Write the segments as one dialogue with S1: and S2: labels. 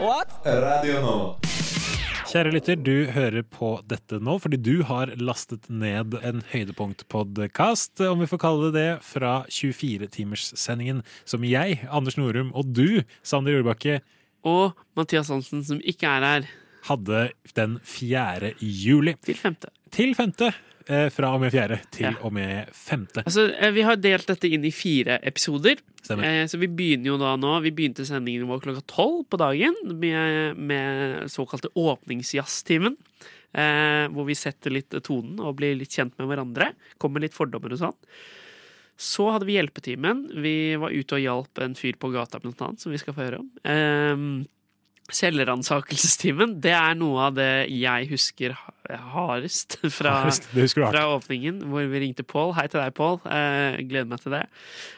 S1: What?
S2: Radio Nova.
S3: Kjære lytter, du hører på dette nå fordi du har lastet ned en høydepunktpodkast, om vi får kalle det det, fra 24-timerssendingen som jeg, Anders Norum, og du, Sander Jordbakke,
S4: Og Mathias Hansen, som ikke er her,
S3: hadde den 4. juli.
S4: til femte.
S3: Til femte. eh, Fra og med fjerde til
S4: Ja.
S3: og med femte.
S4: Altså, eh, vi har delt dette inn i fire episoder.
S3: Stemmer.
S4: Eh, så vi begynner jo da nå Vi begynte sendingen vår klokka tolv på dagen med, med såkalte åpningsjazztimen. Eh, hvor vi setter litt tonen og blir litt kjent med hverandre. Kommer med litt fordommer og sånn. Så hadde vi hjelpetimen. Vi var ute og hjalp en fyr på gata, blant annet, som vi skal få høre om. Eh, Selvransakelsestimen, det er noe av det jeg husker ha- hardest fra
S3: Det husker du hardt.
S4: fra åpningen, hvor vi ringte Pål. Hei til deg, Pål. Eh, gleder meg til det.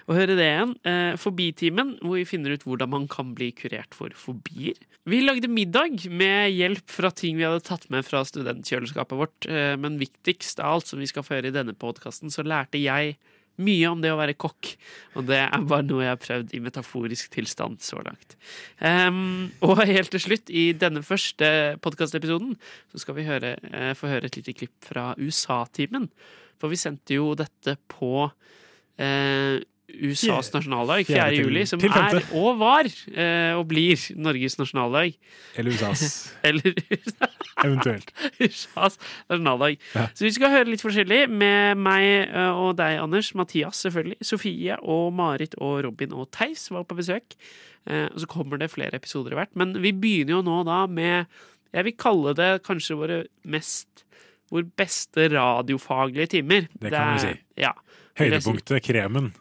S4: Å høre det igjen. Eh, Forbitimen, hvor vi finner ut hvordan man kan bli kurert for fobier. Vi lagde middag med hjelp fra ting vi hadde tatt med fra studentkjøleskapet vårt. Eh, men viktigst av alt, som vi skal få høre i denne podkasten, så lærte jeg mye om det å være kokk, og det er bare noe jeg har prøvd i metaforisk tilstand så langt. Ehm, og helt til slutt, i denne første podkastepisoden, så skal vi høre, eh, få høre et lite klipp fra USA-timen. For vi sendte jo dette på eh, USAs nasjonaldag, 4.
S3: fjerde til-
S4: juli, som
S3: til
S4: er
S3: femte.
S4: og var eh, og blir Norges nasjonaldag.
S3: Eller USAs,
S4: Eller
S3: eventuelt.
S4: USAs nasjonaldag.
S3: Ja.
S4: Så vi skal høre litt forskjellig med meg ø, og deg, Anders. Mathias, selvfølgelig. Sofie og Marit og Robin og Theis var på besøk. Eh, Og så kommer det flere episoder i hvert. Men vi begynner jo nå da med Jeg vil kalle det kanskje våre mest Våre beste radiofaglige timer.
S3: Det kan
S4: er-
S3: vi si.
S4: Ja.
S3: Høydepunktet, kremen.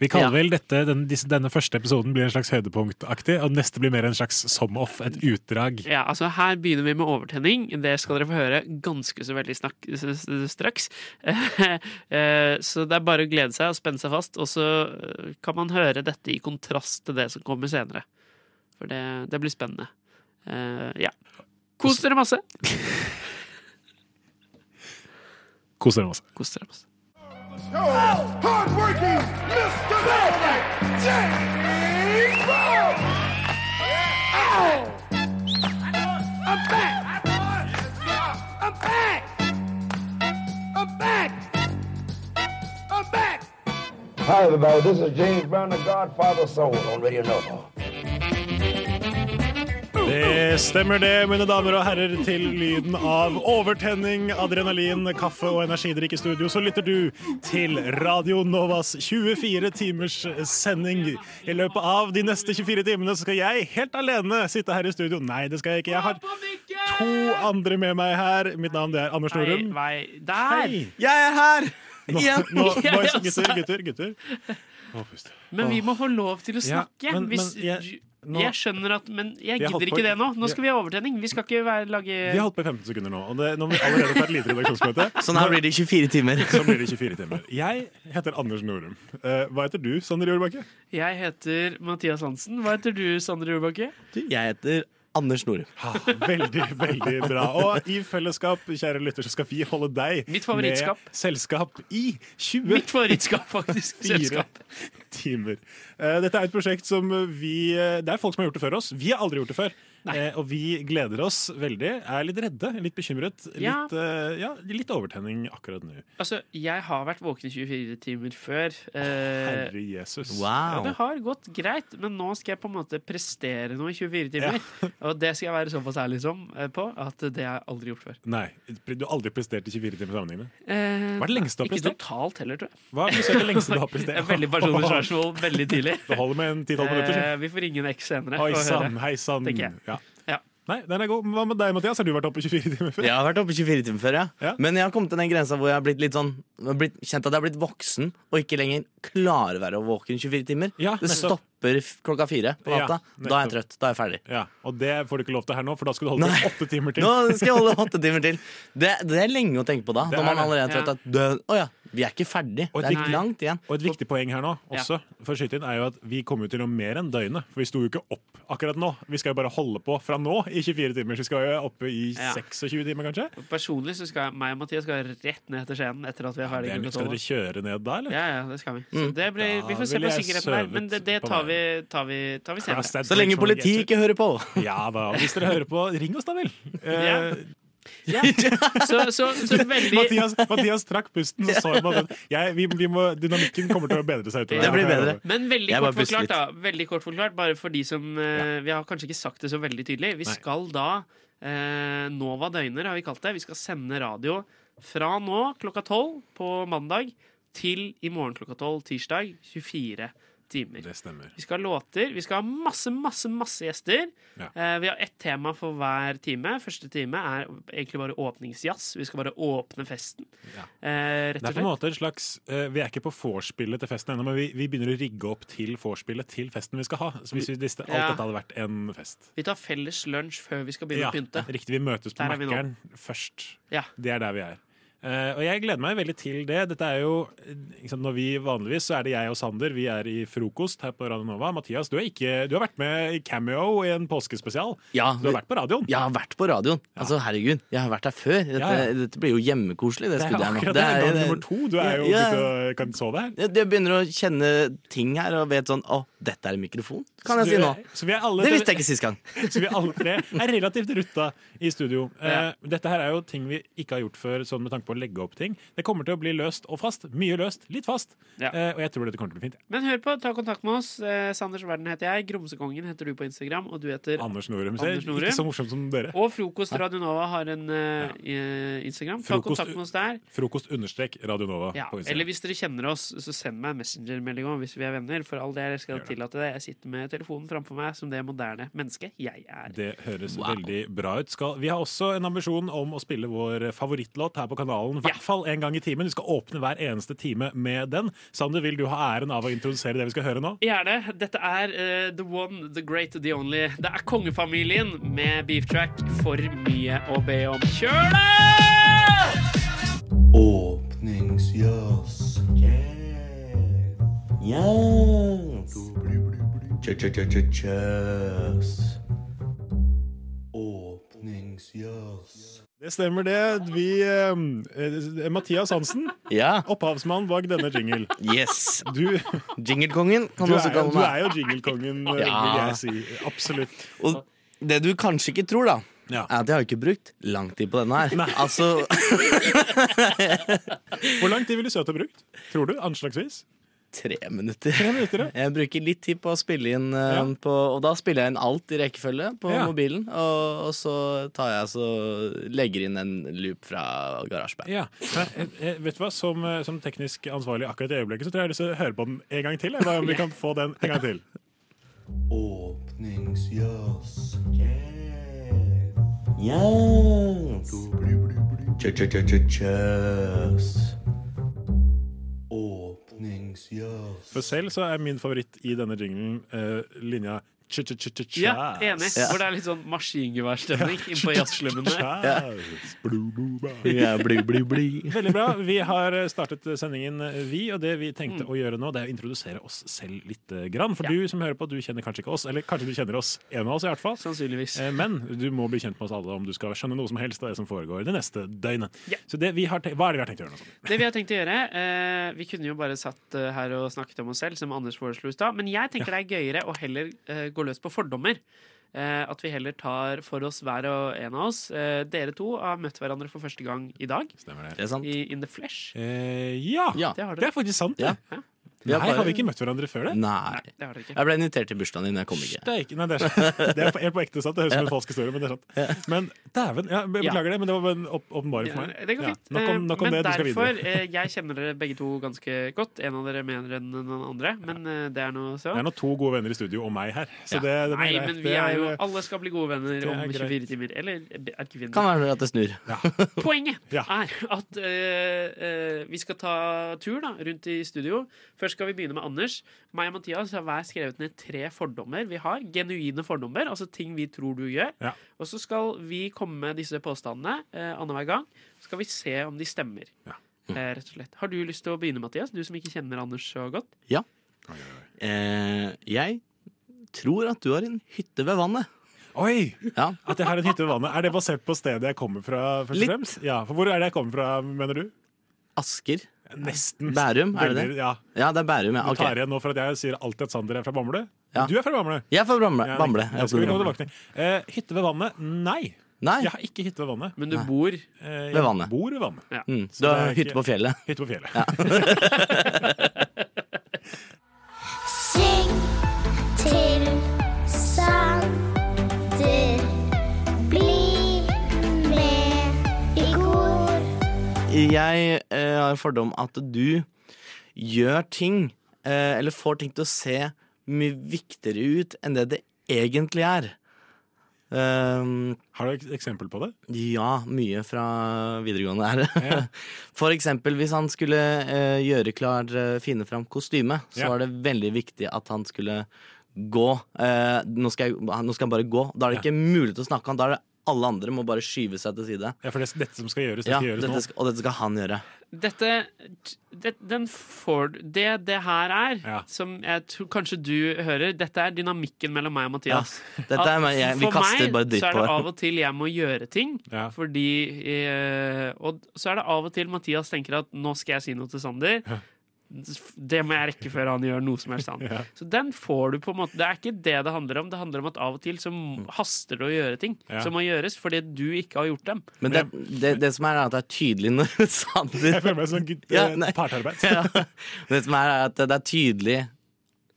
S3: Vi kaller
S4: Ja.
S3: vel dette, den, disse, Denne første episoden blir en slags høydepunktaktig, og neste blir mer en slags som-off, et utdrag.
S4: Ja, altså Her begynner vi med overtenning. Det skal dere få høre ganske så veldig snakk, s- s- straks. Eh, så det er bare å glede seg og spenne seg fast. Og så eh, kan man høre dette i kontrast til det som kommer senere. For det, det blir spennende. Eh, ja. Kos dere masse.
S3: Kos dere med oss.
S4: Kos dere masse.
S5: Hardworking Mr. Dynamite, James Brown. Ow! I'm back. I'm back. I'm back. I'm back.
S6: Hi, everybody. This is James Brown, the Godfather of Soul on Radio Nova.
S3: Det stemmer det, mine damer og herrer, til lyden av overtenning, adrenalin, kaffe og energidrikk i studio, så lytter du til Radio Novas 24 timers sending. I løpet av de neste 24 timene så skal jeg helt alene sitte her i studio. Nei, det skal jeg ikke. Jeg har to andre med meg her. Mitt navn det er Anders
S4: Nei,
S3: Norum.
S4: nei, der!
S2: Jeg er her!
S3: Nå,
S2: Igjen.
S3: nå,
S4: Jeg
S3: boys,
S4: også.
S3: gutter, gutter, gutter. Å, pust.
S4: Men vi må få lov til å
S3: Ja,
S4: snakke.
S3: men-
S4: hvis,
S3: men jeg-
S4: jeg,
S3: nå-
S4: skjønner at Men jeg
S3: Vi har holdt
S4: gidder
S3: på-
S4: ikke det nå. Nå skal vi ha overtenning. Vi skal ikke være, lage
S3: Vi har holdt på i 15 sekunder nå, og det, nå har vi allerede på et lite redaksjonsmøte.
S2: Sånn her blir det 24 timer.
S3: Så blir det 24 timer. Jeg heter Anders Norum. Eh, hva heter du, Sander Jordbakke?
S4: Jeg heter Mathias Hansen. Hva heter du, Sander Jordbakke?
S2: Du, jeg heter Anders Norum.
S3: Ah, veldig, veldig bra. Og i fellesskap, kjære lytter, så skal vi holde deg
S4: Mitt favorittskap.
S3: med selskap i 20
S4: Mitt favorittskap, faktisk.
S3: Fire
S4: Selskap.
S3: timer. Eh, Dette er et prosjekt som vi eh, Det er folk som har gjort det før oss. Vi har aldri gjort det før. Eh, Og vi gleder oss veldig. Er litt redde, litt bekymret.
S4: Ja.
S3: Litt, eh, ja, litt overtenning akkurat nå.
S4: Altså, jeg har vært våken i 24 timer før. Eh,
S3: Herre Jesus.
S4: ja, det
S2: Wow.
S4: har gått greit, men nå skal jeg på en måte prestere noe i 24 timer. og det skal jeg være såpass ærlig som eh, på at det har jeg aldri gjort før.
S3: Nei, du har aldri prestert i 24 timer sammenhengende.
S4: Eh,
S3: Hva er det lengste du har
S4: ikke
S3: prestert?
S4: totalt heller, tror jeg.
S3: Hva er det lengste du har
S4: Det
S3: prestert?
S4: er veldig personlig spørsmål veldig tidlig.
S3: Det holder med en 10-12 minutter.
S4: Eh, vi får ringe en eks senere.
S3: Oi
S4: og høre.
S3: sann, hei sann.
S4: tenker jeg.
S3: Ja.
S4: Eh, Ja.
S3: Nei, den er god. Hva med deg, Mathias? Har du vært oppe i 24 timer før?
S2: Jeg har vært oppe i 24 timer før, ja.
S3: Ja.
S2: Men jeg har kommet til den grensa hvor jeg har blitt litt sånn jeg har blitt, kjent at jeg har blitt voksen og ikke lenger klarer å være våken 24 timer.
S3: Ja,
S2: det
S3: nettopp.
S2: stopper f- klokka fire på
S3: Ja,
S2: natta. da er jeg
S3: nettopp.
S2: trøtt. Da er jeg ferdig.
S3: Ja, Og det får du ikke lov til her nå, for da skal du holde på
S2: Nei.
S3: åtte timer til.
S2: Nå skal jeg holde åtte timer til. Det, det er lenge å tenke på da.
S3: Det
S2: Når
S3: er
S2: man allerede
S4: det.
S2: er trøtt. At dø- Å ja, vi er ikke ferdig.
S3: Og
S2: Det er
S4: et-
S2: langt igjen.
S3: Og et viktig poeng her nå også, for å skyte inn, er jo at vi kom jo til å mer enn døgnet. For vi sto jo ikke opp akkurat nå. Vi skal jo bare holde på fra nå i 24 timer. Så vi skal jo oppe i
S4: Ja.
S3: 26 timer, kanskje.
S4: Personlig så skal jeg, meg og Mathias skal rett ned til Skien etter at vi har
S3: Det
S4: det
S3: er, skal dere
S4: gullet.
S3: kjøre ned da, eller? Mm.
S4: Ja, ja, det skal vi. Så det blir,
S3: Da
S4: vi får se
S3: vil
S4: på
S3: jeg
S4: sikkerheten der.
S3: søve
S4: Men det, det
S3: på
S4: tar, vi, tar, vi, tar vi senere.
S3: Last Dance
S2: Så lenge
S3: Break,
S2: politiet ikke hører på.
S3: Ja da. Hvis dere hører på, ring oss, da vel. Eh,
S4: Ja. Ja. Så, så, så veldig
S3: Mathias, Mathias trakk pusten, så så jeg bare jeg, vi, vi må, Dynamikken kommer til å bedre seg utover.
S4: Det blir
S3: Jeg kan
S2: bedre.
S4: Men veldig
S2: Jeg bare
S4: kort
S2: puster
S4: forklart,
S2: litt.
S4: da. Veldig kort forklart, bare for de som eh, Vi har kanskje ikke sagt det så veldig tydelig. Vi
S3: Nei.
S4: skal da eh, Nova døgner har vi kalt det. Vi skal sende radio fra nå klokka tolv på mandag til i morgen klokka tolv tirsdag. 24
S3: love
S4: timer.
S3: Det stemmer.
S4: Vi skal ha låter. Vi skal ha masse, masse, masse gjester.
S3: Ja.
S4: Eh, vi har ett tema for hver time. Første time er egentlig bare åpningsjazz. Vi skal bare åpne festen.
S3: Ja.
S4: Eh, rett
S3: Det
S4: og
S3: er på en
S4: slett.
S3: måte et slags eh, Vi er ikke på vorspielet til festen ennå, men vi, vi begynner å rigge opp til vorspielet til festen vi skal ha. Så hvis vi, hvis alt
S4: Ja.
S3: dette hadde vært en fest.
S4: Vi tar felles lunsj før vi skal begynne å pynte.
S3: riktig. Vi møtes på
S4: Der er vi nå.
S3: Mækkern først.
S4: Ja.
S3: Det er der vi er. Eh, og jeg gleder meg veldig til det. Dette er jo, eh, ikke sant, når vi Vanligvis så er det jeg og Sander vi er i frokost her på Radio Nova. Mathias, du, er ikke, du har vært med i cameo i en påskespesial.
S2: Ja,
S3: Du har vært på radioen.
S2: Jeg har vært på radioen. Altså, herregud, jeg har vært der før. Dette,
S3: Ja, ja.
S2: dette blir jo hjemmekoselig. Det,
S3: det er
S2: studioet her nå.
S3: akkurat det.
S2: Det er-
S3: Gang
S2: det-
S3: nummer to. Du er jo
S2: Ja.
S3: ute og kan sove her.
S2: Jeg jeg begynner å kjenne ting her og vet sånn Å, dette er en mikrofon, kan jeg
S3: Så
S2: si
S3: du-
S2: nå.
S3: Så vi er alle
S2: Det visste jeg ikke sist gang.
S3: Så vi alle tre er relativt rutta i studio. Eh, dette her er jo ting vi ikke har gjort før, sånn med tanke på å legge opp ting. Det kommer til å bli løst og fast. Mye løst, litt fast.
S4: Ja.
S3: Eh, og jeg tror dette kommer til å bli fint.
S4: Men hør på, ta kontakt med oss. Eh, Sanders Verden heter jeg. Grumsekongen heter du på Instagram. Og du heter
S3: Anders Norum ser
S4: Anders Norum.
S3: ikke så morsom som dere.
S4: Og Frokost Radionova har en eh, i- Instagram. Ta
S3: Frokost-
S4: kontakt med oss der.
S3: Frokost understrek Radio Nova
S4: Ja.
S3: på Instagram.
S4: Eller hvis dere kjenner oss, så send meg en messengermelding også, hvis vi er venner. For all del, jeg skal
S3: Gjør det.
S4: tillate det. Jeg sitter med telefonen framfor meg som det moderne mennesket jeg er.
S3: Det høres
S2: Wow.
S3: veldig bra ut. Skal, vi har også en ambisjon om å spille vår favorittlåt her på kanalen. I hvert fall en gang i timen. Du skal åpne hver eneste time med den. Sander, vil du ha æren av å introdusere det vi skal høre nå?
S4: Gjerne. Dette er eh, the one, the great, the only. Det er kongefamilien med beeftrack. For mye å be om. Kjør det!
S1: Åpningsjazz.
S2: Yes.
S1: Ch-ch-ch-ch-jazz. Åpningsjazz.
S3: Det stemmer, det. Vi, eh, eh, Mathias Hansen,
S2: Ja.
S3: opphavsmann bak denne jingle.
S2: Yes.
S3: Du,
S2: Jinglekongen kan
S3: du,
S2: du også
S3: er, jo-
S2: kalle
S3: du er
S2: meg.
S3: jo jinglekongen, eh, vil
S2: Ja.
S3: jeg si. Absolutt.
S2: Og det du kanskje ikke tror, da,
S3: Ja.
S2: er at jeg har ikke brukt lang tid på denne her. Altså,
S3: Hvor lang tid ville Søte brukt? Tror du? Anslagsvis?
S2: tre minutter.
S3: Tre minutter, ja.
S2: Jeg bruker litt tid på å spille inn, eh,
S3: Ja.
S2: på, og da spiller jeg inn alt i rekkefølge på
S3: Ja.
S2: mobilen. Og, og så tar jeg så legger inn en loop fra GarageBand.
S3: Ja. Nei, eh, eh, vet du hva? Som, eh, som teknisk ansvarlig akkurat i øyeblikket, så tror jeg jeg har lyst til å høre på den en gang til. jeg. Hva om vi kan få den en gang til?
S1: Åpningsjazz. Ch-ch-ch-ch-jazz. Åpningsjazz.
S3: For selv så er min favoritt i denne jinglen eh, linja ch-ch-ch-ch-jazz.
S4: Ja, enig. Hvor det er litt sånn maskingeværstemning innpå jazzslummene.
S3: Jazz. Blu, blu, bla.
S2: Ja, bli, bli, bli.
S3: Veldig bra. Vi har startet sendingen, vi. Og det vi tenkte å gjøre nå, det er å introdusere oss selv litt. eh, Grann. For du som hører på, du kjenner kanskje ikke oss. Eller kanskje du kjenner oss, en av oss i hvert fall.
S4: Sannsynligvis.
S3: Eh, Men du må bli kjent med oss alle om du skal skjønne noe som helst av det som foregår det neste døgnet.
S4: Ja.
S3: Så det vi har te hva er det vi har tenkt å gjøre nå? Sander?
S4: Det vi har tenkt å gjøre eh, Vi kunne jo bare satt eh, her og snakket om oss selv, som Anders foreslo i stad, men jeg tenker det er gøyere å heller eh, gå løs på fordommer. Eh, at vi heller tar for oss hver og en av oss. Eh, dere to har møtt hverandre for første gang i dag,
S3: Stemmer det?
S2: Det er sant.
S4: i In the Flesh.
S3: Eh, ja.
S2: Ja.
S4: Det har
S3: Det
S4: dere.
S3: er faktisk sant.
S2: Ja.
S3: det. Nei,
S2: bare-
S3: har vi ikke møtt hverandre før det?
S2: Nei.
S4: Det har dere ikke.
S2: Jeg ble invitert til bursdagen din, jeg kom ikke.
S3: Steik. Nei, det er, det er helt på ekte sant. Det høres ut som en falsk historie, men det er sant. Men dæven, ja, be-
S4: Ja.
S3: beklager det, men det var bare en opp- åpenbaring for meg.
S4: Ja, Eh, det går
S3: Ja,
S4: fint.
S3: Nok om, nok om
S4: men
S3: det, du skal videre.
S4: derfor, eh, jeg kjenner dere begge to ganske godt. En av dere mener enn den andre, men eh, det er noe så.
S3: Det er nå to gode venner i studio og meg her. Så
S4: Ja.
S3: det, det er
S4: Nei,
S3: greit.
S4: men vi
S3: Det
S4: er jo
S3: eh,
S4: Alle skal bli gode venner
S3: det er
S4: om
S3: greit.
S4: 24 timer. Eller eh, er ikke vi
S2: Kan være at det snur.
S4: Poenget
S3: Ja.
S4: er at eh, eh, vi skal ta tur da, rundt i studio. Først skal vi begynne med Anders. Meg og Mathias har hver skrevet ned tre fordommer vi har. Genuine fordommer, altså ting vi tror du gjør.
S3: Ja.
S4: Og så skal vi komme med disse påstandene uh, annenhver gang. Så skal vi se om de stemmer.
S3: Ja.
S4: Eh, rett og slett. Har du lyst til å begynne, Mathias? Du som ikke kjenner Anders så godt.
S2: Eh, jeg tror at du har en hytte ved vannet.
S3: Oi!
S2: Ja.
S3: At jeg har en hytte ved vannet. Er det basert på stedet jeg kommer fra? først og
S2: Litt.
S3: fremst? Ja, for Hvor er det jeg kommer fra, mener du?
S2: Asker.
S3: Nesten.
S2: Bærum, er det det?
S3: Veldig- Ja.
S2: Ja, det er Bærum. Ja.
S3: Du
S2: ok.
S3: tar igjen nå for at jeg sier alltid at Sander er fra Bamble.
S2: Ja.
S3: Du er fra Bamble.
S2: Jeg er fra Bamble.
S3: Ja,
S2: Bamble.
S3: det skal vi komme tilbake til. Eh, hytte ved vannet? Nei.
S2: Nei,
S3: Jeg har ikke hytte ved vannet.
S4: Men du bor
S3: Eh, jeg
S2: Ved vannet.
S3: bor ved vannet.
S4: ja.
S2: mm.
S3: Så
S2: du har
S3: det er ikke-
S2: hytte på fjellet.
S3: Hytte på fjellet.
S7: Syng til Sander. Bli med i kor.
S2: Jeg eh, har en fordom at du gjør ting, eh, eller får ting til å se mye viktigere ut enn det det egentlig er. Ehm,
S3: Har du et eksempel på det?
S2: ja, mye fra videregående her. For eksempel hvis han skulle eh, gjøre klar, eh, finne fram kostyme, så
S3: Ja.
S2: var det veldig viktig at han skulle gå. Eh, nå, skal jeg, nå skal han bare gå. Da er det ikke mulig til å snakke han. Da er det alle andre må bare skyve seg til side.
S3: Ja, for det, dette som skal gjøres, det
S2: Ja,
S3: skal gjøres
S2: dette
S3: nå.
S2: skal, og dette skal han gjøre.
S4: Dette det, den får, du- det det her er,
S3: Ja.
S4: som jeg tror kanskje du hører, dette er dynamikken mellom meg og
S2: Ja.
S4: Mathias.
S2: Dette er, meg- jeg, vi
S4: For
S2: kaster
S4: meg
S2: bare dritt
S4: så er
S2: på
S4: det
S2: det.
S4: av og til jeg må gjøre ting.
S3: Ja.
S4: Fordi eh, Og så er det av og til Mathias tenker at nå skal jeg si noe til Sander. Det må jeg rekke før han gjør noe som helst annet.
S3: Ja.
S4: Så den får du på en måte Det er ikke det det handler om. Det handler om at av og til så
S2: Mm.
S4: haster det å gjøre ting
S3: Ja.
S4: som må gjøres fordi du ikke har gjort dem.
S2: Men det, det, det som er, er at det er tydelig når
S3: Jeg
S2: Sander
S3: føler meg som en gutt-
S2: Ja,
S3: eh,
S2: nei.
S3: partarbeid.
S2: ja. Det som er, er at det er tydelig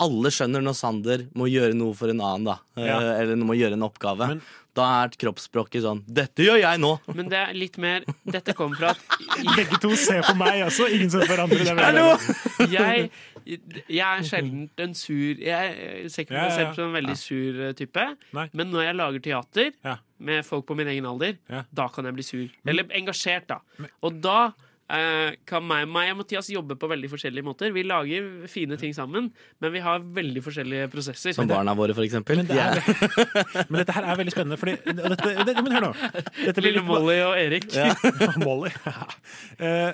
S2: Alle skjønner når Sander må gjøre noe for en annen, da. Eh,
S3: Ja.
S2: Eller må gjøre en oppgave.
S3: Men-
S2: da er kroppsspråket sånn 'Dette gjør jeg nå!'
S4: Men det er litt mer Dette kommer fra at
S3: Begge to ser på meg også. Ingen ser på hverandre. Det er veldig
S2: Hallo!
S3: bra.
S4: jeg, jeg er sjelden en sur Jeg ser ikke på
S3: Ja,
S4: meg
S3: ja, ja.
S4: selv som en veldig sur eh, type,
S3: Nei.
S4: men når jeg lager teater
S3: Ja.
S4: med folk på min egen alder,
S3: Ja.
S4: da kan jeg bli sur. Eller engasjert, da. Og da eh, kan meg, meg og Mathias jobbe på veldig forskjellige måter. Vi lager fine ting sammen, men vi har veldig forskjellige prosesser.
S2: Som barna våre, for eksempel.
S3: Det er, ve- men dette her er veldig spennende, fordi og dette, og dette, Men hør nå. Dette blir
S4: Lille
S3: litt ba-
S4: Molly og Erik.
S3: Molly. Eh,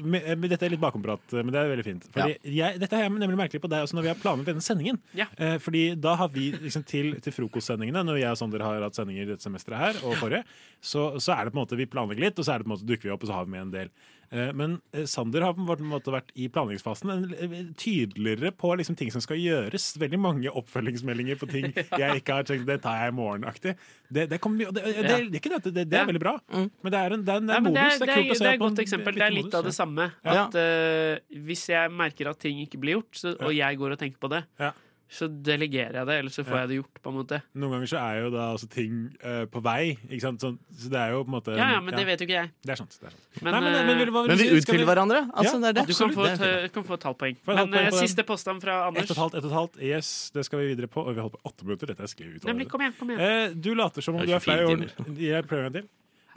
S3: men- men dette er litt bakomprat, eh, men det er veldig fint. Fordi jeg, dette har jeg nemlig merkelig på deg også når vi har planlagt denne sendingen.
S4: Ja.
S3: Eh, fordi da har vi liksom til, til frokostsendingene, når jeg og Sander har hatt sendinger dette semesteret her og forrige, så, så er det på en måte vi planlegger litt, og så er det på en måte dukker vi opp, og så har vi med en del. Eh, Men eh, Sander har på en måte vært i planleggingsfasen en- eh, tydeligere på liksom ting som skal gjøres. Veldig mange oppfølgingsmeldinger på ting jeg ikke har tenkt det tar jeg i morgen-aktig. Det, det, kommer mye- og det, det, det, er ikke det, at det, det er
S4: Ja.
S3: veldig bra,
S2: Mm.
S3: men det er en, det er en, det
S4: Nei,
S3: er
S4: men det,
S3: modus.
S4: er, det,
S3: kult å
S4: er,
S3: se
S4: det er
S3: at
S4: et
S3: man
S4: godt eksempel. Det
S3: bytter
S4: er litt
S3: modus,
S4: av det
S3: ja.
S4: samme.
S2: Ja.
S4: At eh, Hvis jeg merker at ting ikke blir gjort, så, og jeg går og tenker på det,
S3: Ja.
S4: så delegerer jeg det, eller så får jeg det gjort, på en måte.
S3: Noen ganger så er jo da også ting eh, på vei, ikke sant? Sånn, så det er jo på en måte
S4: Ja, ja, men det vet jo ikke jeg.
S3: Det er sant. Det er sant.
S4: Men,
S3: Nei, men,
S4: eh,
S3: men, vil- hva vil
S2: Men
S3: du
S2: vi
S3: si? Skal
S2: utfyller hverandre. Altså,
S3: Ja,
S2: det er det.
S4: Du kan få
S2: Det er
S4: et,
S2: fint.
S4: eh, kan få et halvt poeng.
S3: Får jeg et halvt
S4: Men
S3: poeng
S4: eh,
S3: på den?
S4: siste påstand fra
S3: Ett og
S4: Anders.
S3: et halvt, ett og et halvt. Yes, det skal vi videre på. Oi, vi holder på åtte minutter. Dette er skrevet ut.
S4: Nemlig,
S3: allerede.
S4: kom igjen, kom igjen.
S3: Eh, du later som om
S2: Det
S3: du
S2: er
S3: er flau
S2: 24
S3: over den. Jeg prøver en til.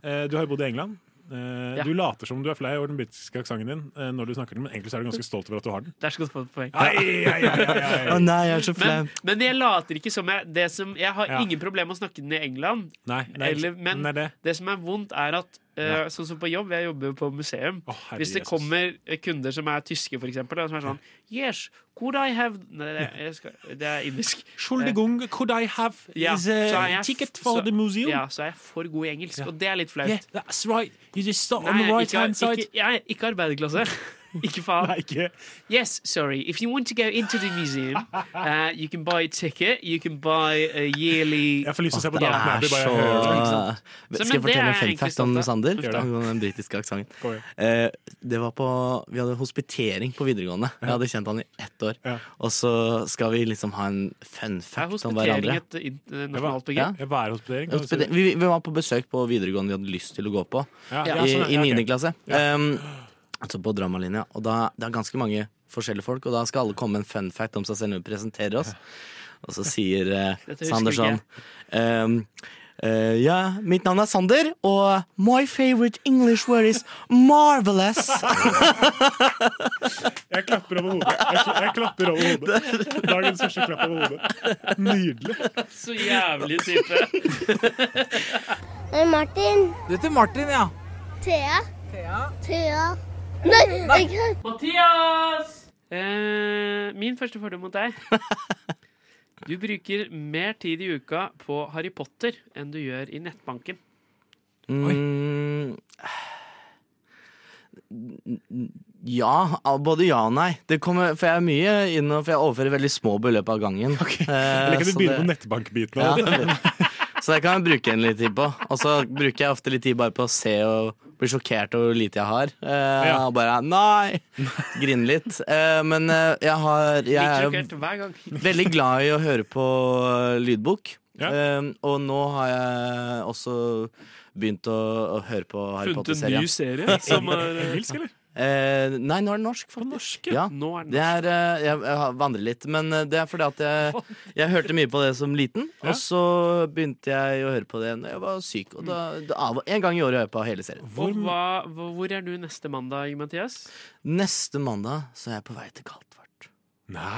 S3: Eh, du har bodd i England. Eh,
S4: Ja.
S3: Du later som om du er flau over den britiske aksenten din, eh, når du snakker den, men egentlig så er du ganske stolt over at du har den.
S4: Der skal du få et poeng.
S3: Ai, ai, ai, ai,
S2: Å
S3: ai.
S2: nei, jeg er så flau.
S4: Men, men jeg later ikke som jeg det som, Jeg har
S3: Ja.
S4: ingen problemer med å snakke den i England.
S3: Nei, nei,
S4: Eller, men
S3: nei,
S4: det.
S3: det.
S4: som er vondt, er at eh, Sånn som på jobb, jeg jobber jo på museum.
S3: Å, herre
S4: Hvis det
S3: Jesus.
S4: kommer eh, kunder som er tyske, for eksempel, og som er sånn Yes, could I have Nei, det, er- jeg skal, det er indisk. Eh,
S3: Schuldigung, could I have
S4: Ja,
S3: is
S4: så er
S3: a
S4: jeg-
S3: ticket for
S4: så-
S3: the museum?
S4: Ja, så er jeg for god i engelsk,
S3: Ja.
S4: og det er litt flaut.
S3: Yeah, that's right. You just start on
S4: Nei,
S3: the right
S4: ikke,
S3: hand side.
S4: ikke, jeg er ikke arbeiderklasse. Ikke faen.
S3: Nei, ikke.
S4: Yes, sorry. If you want to go into the museum, uh, you can buy a ticket. You can buy a yearly
S3: Jeg får lyst til å se på
S2: Det
S3: damen her.
S2: er
S3: blir bare-
S2: så
S4: Så,
S2: Skal jeg
S4: men det er
S2: fortelle en fun
S4: egentlig
S2: fact
S4: sant,
S2: om
S4: da.
S2: Sander?
S3: det.
S2: Angående den britiske aksenten.
S3: Kom igjen.
S2: Eh, det var på, vi hadde hospitering på videregående. Jeg hadde kjent han i ett år.
S3: Ja.
S2: Og så skal vi liksom ha en fun
S4: Er
S2: fact om
S4: hospitering
S2: hverandre.
S4: et internasjonalt begrep?
S3: Ja, Værhospitering. kan du si.
S2: Hospite- Vi, vi var på besøk på videregående vi hadde lyst til å gå på.
S3: Ja,
S2: I,
S3: ja, sånn,
S2: i
S3: ja,
S2: 9.
S3: ok.
S2: klasse. Um, altså på dramalinja. Og da, det er ganske mange forskjellige folk, og da skal alle komme med en fun fact om seg selv når vi presenterer oss. Og så sier eh,
S4: Dette husker
S2: Sander
S4: ikke jeg.
S2: sånn um, eh, Ja, mitt navn er Sander, og my favorite English word is marvelous.
S3: Jeg klapper over hodet. Jeg, jeg klapper over hodet. Dagens første klapp over hodet. Nydelig.
S4: Så jævlig type.
S7: Hei, Martin.
S8: Du heter Martin, ja.
S7: Thea. Thea. Nei, ikke
S4: Mathias! Eh, min første fordom mot deg Du bruker mer tid i uka på Harry Potter enn du gjør i nettbanken.
S2: Mm, ja, ah, både ja og nei. Det kommer, for jeg er mye inn og for jeg overfører veldig små beløp av gangen. Eh,
S3: Eller kan
S2: så
S3: du begynne
S2: det-
S3: på nettbankbiten?
S2: Ja,
S3: av det?
S2: så det kan jeg bruke en litt tid på. Og så bruker jeg ofte litt tid bare på å se og bli sjokkert over hvor lite jeg har. Eh,
S3: Ja.
S2: Og bare nei! Grine litt. Eh, men eh, jeg har jeg
S4: Litt
S2: er jo
S4: sjokkert hver gang.
S2: veldig glad i å høre på eh, lydbok.
S3: Ja.
S2: Eh, og nå har jeg også begynt å, å høre på
S4: Funnet
S2: Harry
S4: en
S2: Potter-serien.
S4: ny serie som er
S3: Engelsk, eller?
S2: Eh, nei, nå er den norsk, faktisk.
S4: norsk.
S2: Ja.
S4: Nå er den
S2: Det er, eh, jeg, jeg har- vandrer litt, men eh, det er fordi at jeg, jeg hørte mye på det som liten.
S3: Ja.
S2: Og så begynte jeg å høre på det når jeg var syk. Og da, da, av- en gang i året hører jeg på hele serien.
S4: Og hva, hva, hvor er du neste mandag, Mathias?
S2: Neste mandag så er jeg på vei til Kaltvart.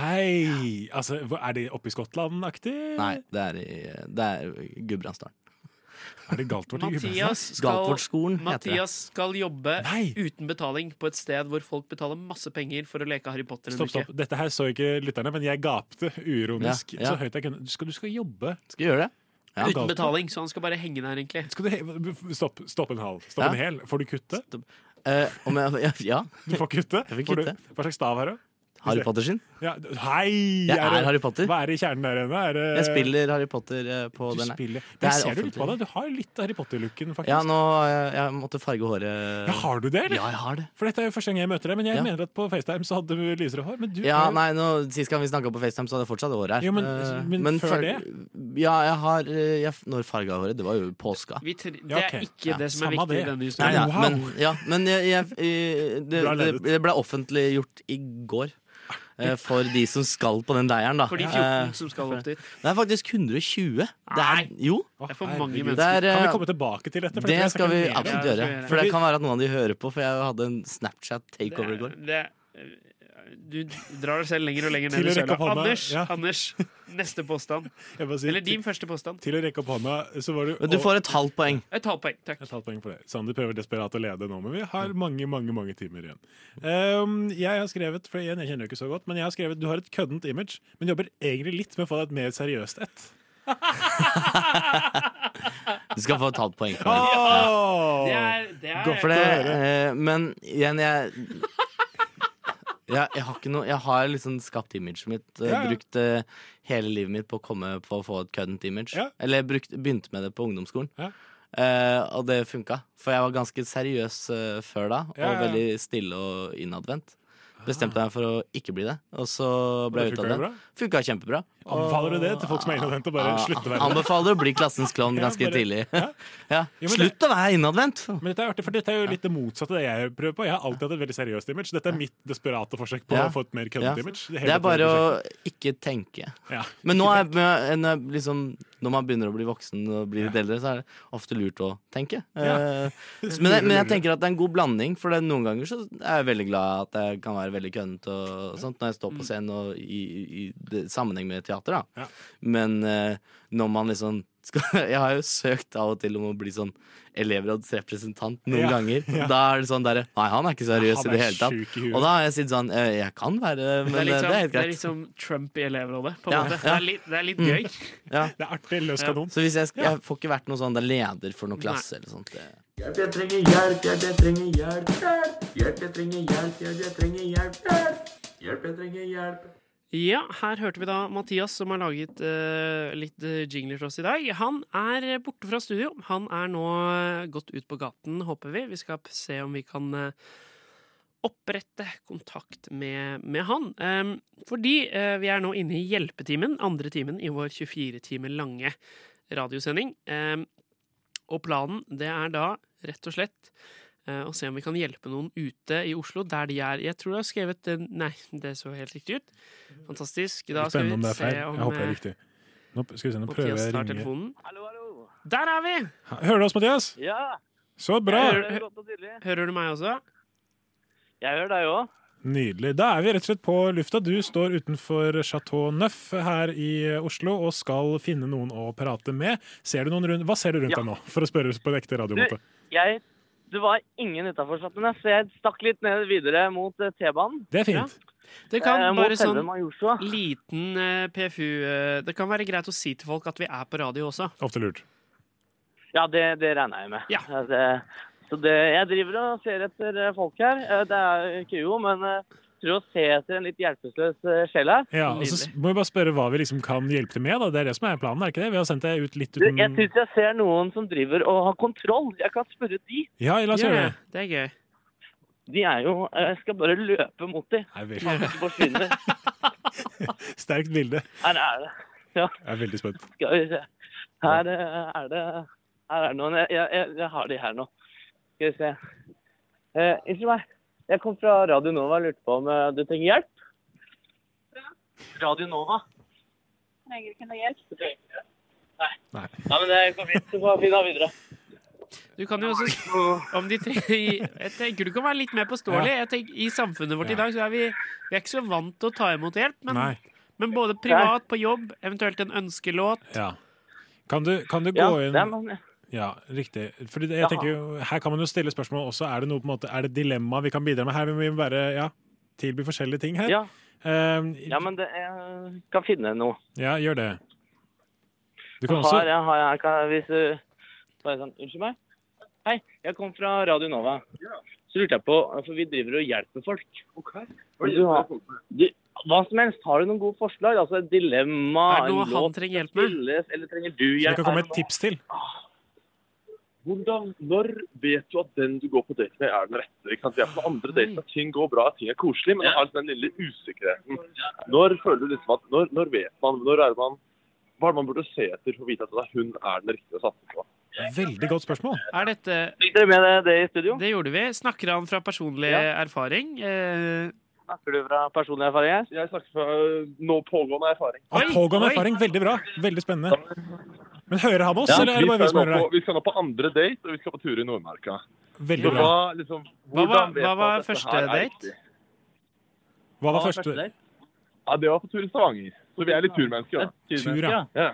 S3: Nei! Altså, hva- er det oppe i Skottland-aktig?
S2: Nei, det er, i- det er Gudbrandsdalen.
S3: Er det Galtvort i Gudbrandsdalen?
S4: Mathias skal,
S2: Galtvortskolen heter det.
S4: Mathias skal jobbe
S3: Nei.
S4: uten betaling på et sted hvor folk betaler masse penger for å leke Harry Potter en
S3: Stopp,
S4: uke.
S3: stopp. Dette her så ikke lytterne, men jeg gapte uironisk.
S2: Ja, ja.
S3: Så høyt jeg kunne. Du skal, du skal jobbe.
S2: Skal gjøre det? Ja,
S4: Uten
S3: Galtvort.
S4: betaling, så han skal bare henge der, egentlig.
S3: Skal du he stopp, stopp en hal. Stopp
S2: Ja.
S3: en hel. Får du kutte?
S2: Eh, om jeg, ja, ja.
S3: Du får kutte.
S2: Jeg får
S3: Får du-
S2: kutte.
S3: Hva slags stav har du?
S2: Harry Potter sin.
S3: Ja, d- hei!
S2: Jeg
S3: det-
S2: er Harry Potter.
S3: Hva er det i kjernen der inne? Er
S2: Jeg
S3: det,
S2: spiller Harry Potter eh, på
S3: Eh. Du
S2: den her.
S3: spiller.
S2: Det
S3: Men
S2: er
S3: ser du litt på
S2: offentlig.
S3: deg? Du har litt Harry Potter-looken, faktisk.
S2: Ja, nå har jeg, jeg måtte farge håret.
S3: Ja, har du det, eller?
S2: Ja, jeg har det.
S3: For dette er jo første gang jeg møter deg, men jeg
S2: Ja.
S3: mener at på FaceTime så hadde du lysere hår. Men du
S2: Ja,
S3: er jo-
S2: nei, nå, Sist gang vi snakka på FaceTime, så hadde jeg fortsatt hår her.
S3: Jo, men-
S2: Eh,
S3: men før
S2: før-
S3: det?
S2: Ja, jeg har eh, jeg, Når farga jeg håret? Det var jo påska.
S4: Vi tre, det
S3: Ja, ok.
S4: er ikke
S2: Ja,
S4: det som er
S3: samme
S4: viktig
S3: det.
S4: i denne
S2: Nei,
S4: historien.
S2: ja,
S3: wow.
S2: Men, ja, men jeg, jeg, eh, det,
S3: Bra
S2: det,
S3: ledet.
S2: det ble offentliggjort i går. eh, For de som skal på den leiren, da.
S4: For de
S2: Eh,
S4: 14 som skal opp dit.
S2: Det er faktisk 120. Det er,
S4: Nei.
S2: jo,
S3: Å,
S4: Det er for mange
S3: herregud.
S4: mennesker.
S2: det er,
S3: Kan vi
S2: eh,
S3: komme tilbake til dette? For
S2: det
S3: dette
S2: skal vi
S3: snakke mer om.
S2: absolutt
S4: Ja, det skal
S2: gjøre.
S4: vi gjøre.
S2: For det kan være at noen av de hører på, for jeg hadde en Snapchat-takeover i går.
S4: Det, du drar deg selv lenger og lenger
S3: Til
S4: ned
S3: å
S4: i
S3: rekke
S4: søla.
S3: opp hånda,
S4: Anders,
S3: ja.
S4: Anders, neste påstand.
S3: Jeg bare sier,
S4: Eller din første påstand.
S3: Til å rekke opp hånda, så var du
S2: Men du får et halvt poeng.
S4: Et halvt poeng, takk.
S3: Jeg tar et poeng for det. Sander prøver desperat å lede nå, men vi
S2: Mm.
S3: har mange mange, mange timer igjen. Ehm, jeg har skrevet for igjen, jeg kjenner jo ikke så godt, men jeg har skrevet du har et køddent image, men jobber egentlig litt med å få deg et mer seriøst et.
S2: Du skal få et halvt poeng. for det.
S3: Oh!
S4: Det er, det er,
S3: Gå
S2: For det, eh, men igjen, jeg jeg, jeg har ikke noe Jeg har liksom skapt imaget mitt. eh,
S3: Ja, ja.
S2: Brukt eh, hele livet mitt på å komme på å få et køddent image.
S3: Ja.
S2: Eller jeg brukt, begynte med det på ungdomsskolen.
S3: Ja.
S2: Eh, og det funka. For jeg var ganske seriøs eh, før da, og
S3: Ja, ja, ja.
S2: veldig stille og innadvendt. Bestemte meg for å ikke bli det, og så ble
S3: det
S2: jeg ute
S3: funka
S2: av
S3: jo
S2: det.
S3: bra?
S2: Funka kjempebra.
S3: Anbefaler du det til folk som er innadvendt, og bare
S2: Ah,
S3: slutte å være det?
S2: Anbefaler å bli klassens klovn
S3: Ja,
S2: sånn ganske
S3: bare-
S2: tidlig.
S3: Ja.
S2: ja.
S3: Jo, men det-
S2: Slutt å være innadvendt!
S3: Men dette er artig, for dette er jo litt det motsatte av det jeg prøver på. Jeg har alltid hatt et veldig seriøst image. Dette er mitt desperate forsøk på
S2: Ja.
S3: å få et mer
S2: Ja.
S3: køddent image.
S2: Det er bare å ikke tenke. Men nå er, men når jeg liksom, når man begynner å bli voksen og blir litt eldre, så er det ofte lurt å tenke.
S3: Ja.
S2: Eh, Men, jeg, men jeg tenker at det er en god blanding, for det, er noen ganger så er jeg veldig glad at jeg kan være veldig kønnete og sånt når jeg står på scenen og i, i det- sammenheng med teater, da.
S3: Mm. Ja.
S2: Men eh, når man liksom skal, Jeg har jo søkt av og til om å bli sånn elevrådsrepresentant noen
S3: Ja.
S2: ganger.
S3: Ja.
S2: Da er det sånn derre Nei, han er ikke seriøs
S3: Han
S2: i det
S3: er
S2: hele tatt.
S3: sjuk i huet.
S2: Og da har jeg sittet sånn eh, Jeg kan være men
S4: det er liksom,
S2: eh, det
S3: sånn-
S2: er helt
S4: det er
S2: greit.
S4: liksom Trump i elevrådet. På en
S2: Ja,
S4: måte. Det
S2: ja.
S4: er litt, det er
S3: Mm.
S4: litt gøy.
S2: Ja.
S3: Det er artig. Løs kanon.
S2: Så hvis jeg, sk- jeg får ikke vært noen sånn der leder for noen klasse eller sånt. det-
S4: Ja, her hørte vi da Mathias, som har laget eh, litt eh, jingler til oss i dag. Han er eh, borte fra studio. Han er nå eh, gått ut på gaten, håper vi. Vi skal se om vi kan eh, opprette kontakt med, med han. Em, fordi eh, vi er nå inne i hjelpetimen, andre timen i vår 24 timer lange radiosending. Ehm, Em, og planen, det er da rett og slett eh, å se om vi kan hjelpe noen ute i Oslo, der de er. Jeg tror du har skrevet eh, Nei, det så helt riktig ut. Fantastisk. Da skal
S3: Spennende om
S4: vi
S3: det er
S4: se
S3: feil.
S4: om
S3: Jeg håper det
S4: eh,
S3: er riktig. Nå, skal vi se, nå prøver
S4: Mathias
S3: jeg å
S4: tar
S3: ringe
S4: telefonen. Der er vi!
S3: Hører du oss, Mathias?
S8: Ja,
S3: Så bra!
S8: jeg hører det godt og tydelig.
S4: Hører du meg også?
S8: Jeg hører deg òg.
S3: Nydelig. Da er vi rett og slett på lufta. Du står utenfor Chateau Neuf her i Oslo og skal finne noen å prate med. Ser du noen rundt? Hva ser du rundt
S8: Ja.
S3: deg nå, for å spørre på en ekte radiomåte?
S8: Jeg Det var ingen utafor Chateau Neuf, så jeg stakk litt ned videre mot eh, T-banen.
S3: Det er fint.
S4: Det
S2: Eh,
S4: kan bare sånn
S2: Majorstua.
S4: liten eh, PFU eh, Det kan være greit å si til folk at vi er på radio også.
S3: Ofte lurt.
S2: Ja, det, det regner jeg med.
S4: Ja.
S2: Det, så det, jeg driver og ser etter eh, folk her. Eh, Det er ikke jo, men eh, tror å se etter en litt hjelpeløs eh, sjel her.
S3: Ja, og så s- må vi bare spørre hva vi liksom kan hjelpe til med. da. Det er det som er planen, er ikke det? Vi har sendt deg ut litt
S2: Du, jeg
S3: uten
S2: syns jeg ser noen som driver og har kontroll. Jeg kan spørre de.
S3: Ja, la oss gjøre det.
S4: Ja, det er gøy.
S2: De er jo Jeg skal bare løpe mot de.
S3: Det er
S2: Han
S3: veldig
S2: ikke forsvinner.
S3: sterkt bilde.
S2: Her er det.
S3: Jeg er veldig spent.
S2: Skal vi se. Her eh, er det Her er det noen. Jeg, jeg, jeg, jeg har de her nå. Skal vi se. Eh, Unnskyld meg. Jeg kom fra Radio Nova og lurte på om eh, du trenger hjelp? Radio Nova?
S9: Trenger ikke noe hjelp.
S2: Nei, men det går fint. Du får finne av videre.
S4: Du kan jo også om de tre, Jeg tenker du kan være litt mer påståelig. Jeg tenker, I samfunnet vårt
S3: Ja.
S4: i dag så er vi, vi er ikke så vant til å ta imot hjelp, men,
S3: Nei.
S4: men både privat, på jobb, eventuelt en ønskelåt
S3: Ja. Kan du, kan du
S2: Ja,
S3: gå inn
S2: det er man-
S3: Ja, riktig. Fordi det- jeg tenker jo, Her kan man jo stille spørsmål også. Er det noe på en måte, er det dilemma vi kan bidra med her? Vi må bare ja, tilby forskjellige ting her.
S2: ja,
S3: Ehm,
S2: ja, men det, jeg kan finne noe.
S3: ja, gjør det. Du kan
S2: Har
S3: også
S2: jeg, har jeg, kan, hvis du Bare sånn, unnskyld meg. Hei, jeg kom fra Radio Nova. Så lurte jeg på, for vi driver og hjelper folk. Hva du har, du, hva som helst. Har du noen gode forslag? Altså et dilemma,
S4: er det noe
S2: en
S4: han
S2: låt
S4: trenger hjelp med.
S2: spilles, eller trenger du
S3: Du
S2: hjelp?
S3: kan komme
S2: Er
S3: med
S2: det
S3: et tips til.
S10: Hvordan, når vet du at den du går på date med, er den rette? Ikke sant? Vi er på andre dater, at ting går bra, at ting er koselig, men det er den lille usikkerheten. Når føler du liksom at Når, når vet man? Når er det man Hva er det man burde se etter for å vite at det er hun er den riktige å satse på?
S3: Veldig godt spørsmål.
S4: Er dette
S2: noe- Fikk dere med det, det i studio?
S4: Det gjorde vi. Snakker han fra personlig
S2: Ja.
S4: erfaring? Eh,
S2: Snakker du fra personlig erfaring her?
S10: Jeg snakker fra øh, nå pågående erfaring.
S3: Og
S4: Oi,
S3: pågående
S4: oi.
S3: erfaring. Veldig bra. Veldig spennende. Men hører han oss, eller er det bare vi
S10: vi,
S3: som
S10: skal
S3: hører
S10: nå
S3: det?
S10: på, vi skal nå på andre date, og vi skal på tur i Nordmarka.
S3: Veldig
S10: Så
S3: bra.
S10: hva, liksom,
S4: Hva var-
S10: hvordan vet
S4: hva
S10: man
S4: var
S10: at dette
S4: første
S10: her er
S4: date?
S10: riktig?
S3: Hva var første
S10: Ja, Det var på tur i Stavanger. Så vi er litt turmennesker. da.
S3: tur, ja?
S10: Ja.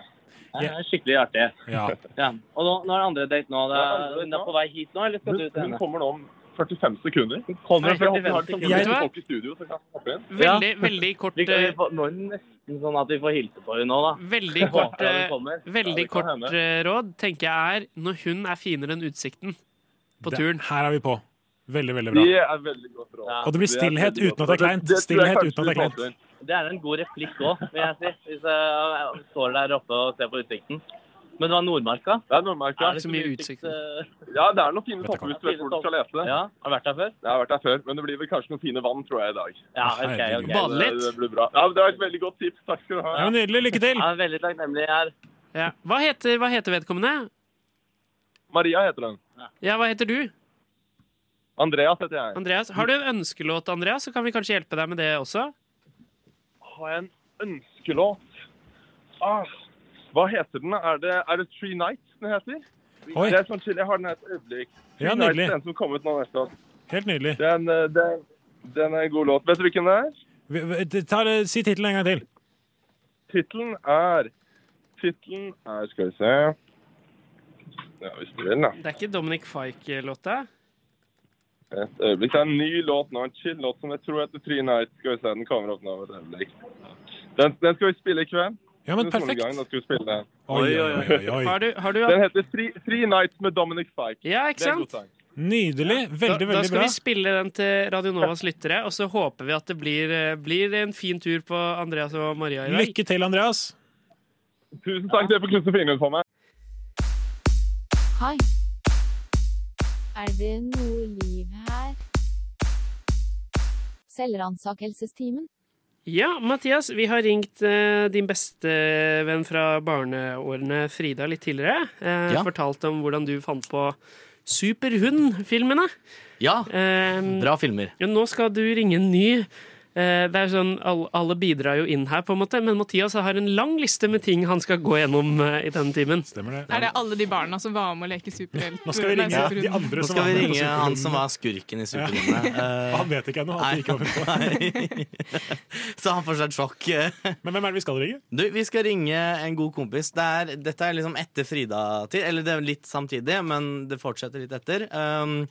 S2: Det er skikkelig artig.
S3: ja.
S2: Ja. Og nå, nå er det andre date nå. Det
S10: Ja,
S2: er,
S10: andre date
S2: hun er
S10: nå.
S2: på vei hit nå, eller skal
S10: Hun,
S2: du til
S10: hun
S2: henne?
S10: kommer nå om 45 sekunder.
S2: Hun kommer
S4: Nei,
S2: fra
S4: jeg-
S2: Holmdal.
S10: Kan
S4: Vet
S10: vi
S4: du
S10: få
S4: hva?
S10: folk i studio, så kan vi hoppe inn?
S4: veldig, veldig kort
S2: Vi kan- vi
S4: eh,
S2: får- Nå er det nesten sånn at vi får hilse på henne nå, da.
S4: Veldig kort,
S2: Håper jeg
S4: eh,
S2: hun kommer.
S4: veldig
S10: det kan
S4: kort
S10: hende.
S4: eh, råd tenker jeg er når hun er finere enn utsikten på
S3: Det-
S4: turen.
S3: Her er vi på. Veldig, veldig bra.
S10: Det er veldig godt råd.
S2: Ja.
S3: Og det blir
S10: er
S3: stillhet
S10: veldig
S3: uten at
S10: godt
S3: det er
S10: råd.
S3: kleint.
S10: tror jeg
S3: Stillhet uten
S10: kanskje
S3: at det er
S10: vi
S3: kleint.
S10: passer.
S2: Det er en god replikk òg, vil jeg si. Hvis jeg står der oppe og ser på utsikten. Men det var Nordmarka.
S10: Det er Nordmarka.
S4: Er det så mye utsikt?
S2: eh,
S10: Ja, det er noen fine
S3: Vet du
S10: topper hvis du vet hvor du skal lete.
S2: Ja, Har du vært der før?
S10: Jeg har vært der før, men det blir vel kanskje noen fine vann, tror jeg, i dag.
S2: Ja, OK. ok.
S4: Bare
S10: Det,
S4: Litt.
S10: det blir bra. Ja, men Det var et veldig godt tips. Takk skal du ha.
S3: Ja, men nydelig. Lykke til.
S2: Jeg er veldig takknemlig her.
S4: Ja. Hva, heter, hva heter vedkommende?
S10: Maria heter den.
S4: Ja, hva heter du?
S10: Andreas heter jeg.
S4: Andreas, har du en ønskelåt, Andreas, så kan vi kanskje hjelpe deg med det også?
S10: Har jeg en ønskelåt? Ah, hva heter den? Er det, er det Three Nights den heter?
S3: Oi.
S10: Det er sånn chill. Jeg har den her et øyeblikk. Three
S3: Ja,
S10: Nights
S3: nydelig.
S10: er den som kom ut nå neste år.
S3: Helt nydelig.
S10: Den, eh, den, den er en god låt. Vet du hvilken det er?
S3: Vi- vi- det- Ta, det- si tittelen en gang til.
S10: Tittelen er Tittelen er Skal vi se Ja, hvis du vil, da.
S4: Det er ikke Dominic Fike-låta?
S10: Et øyeblikk. Det er en ny låt nå. En chill låt som jeg tror heter Three Nights. Skal vi se, den kommer opp nå om et øyeblikk. Den, den skal vi spille i kveld.
S3: Ja, men
S10: Den solnedgangen,
S3: perfekt.
S10: Da skal vi spille den.
S3: Oi, oi, oi, oi.
S4: Har du, har du
S10: Den heter Three, Three Nights med Dominic Fike.
S4: Ja, ikke
S10: Det er en god
S4: sant?
S10: sang.
S3: Nydelig.
S4: Da,
S3: Veldig,
S4: da
S3: veldig
S4: skal
S3: bra.
S4: vi spille den til Radio Novas lyttere, og så håper vi at det blir, eh, blir en fin tur på Andreas og Maria i dag.
S3: Lykke til, Andreas.
S10: Tusen takk, dere får klusse fingrene for meg.
S11: Hei. Er det noe liv her? Selvransakelsestimen?
S4: Ja, Mathias, vi har ringt eh, din bestevenn fra barneårene, Frida, litt tidligere. Eh,
S1: Ja.
S4: Fortalt om hvordan du fant på Superhund-filmene.
S1: Ja,
S4: Eh,
S1: bra filmer.
S4: Ja, nå skal du ringe en ny. Eh, Det er sånn, alle, alle bidrar jo inn her, på en måte, men Mathias har en lang liste med ting han skal gå gjennom eh, i denne timen.
S3: Stemmer det.
S9: Er det alle de barna som var med å leke superhelt?
S3: Nå skal vi
S9: Nei,
S3: ringe de
S9: superhund.
S3: andre
S1: Nå
S3: som
S1: skal vi
S3: med på
S1: ringe han
S3: Superhunden.
S1: som var skurken i Superhjemmet.
S3: Han vet ikke ennå. at det ikke var fullt.
S1: Så han får seg et sjokk.
S3: Men hvem er det vi skal ringe?
S1: Du, Vi skal ringe en god kompis. Det er, dette er liksom etter Frida-tid. Eller det er litt samtidig, men det fortsetter litt etter. Um,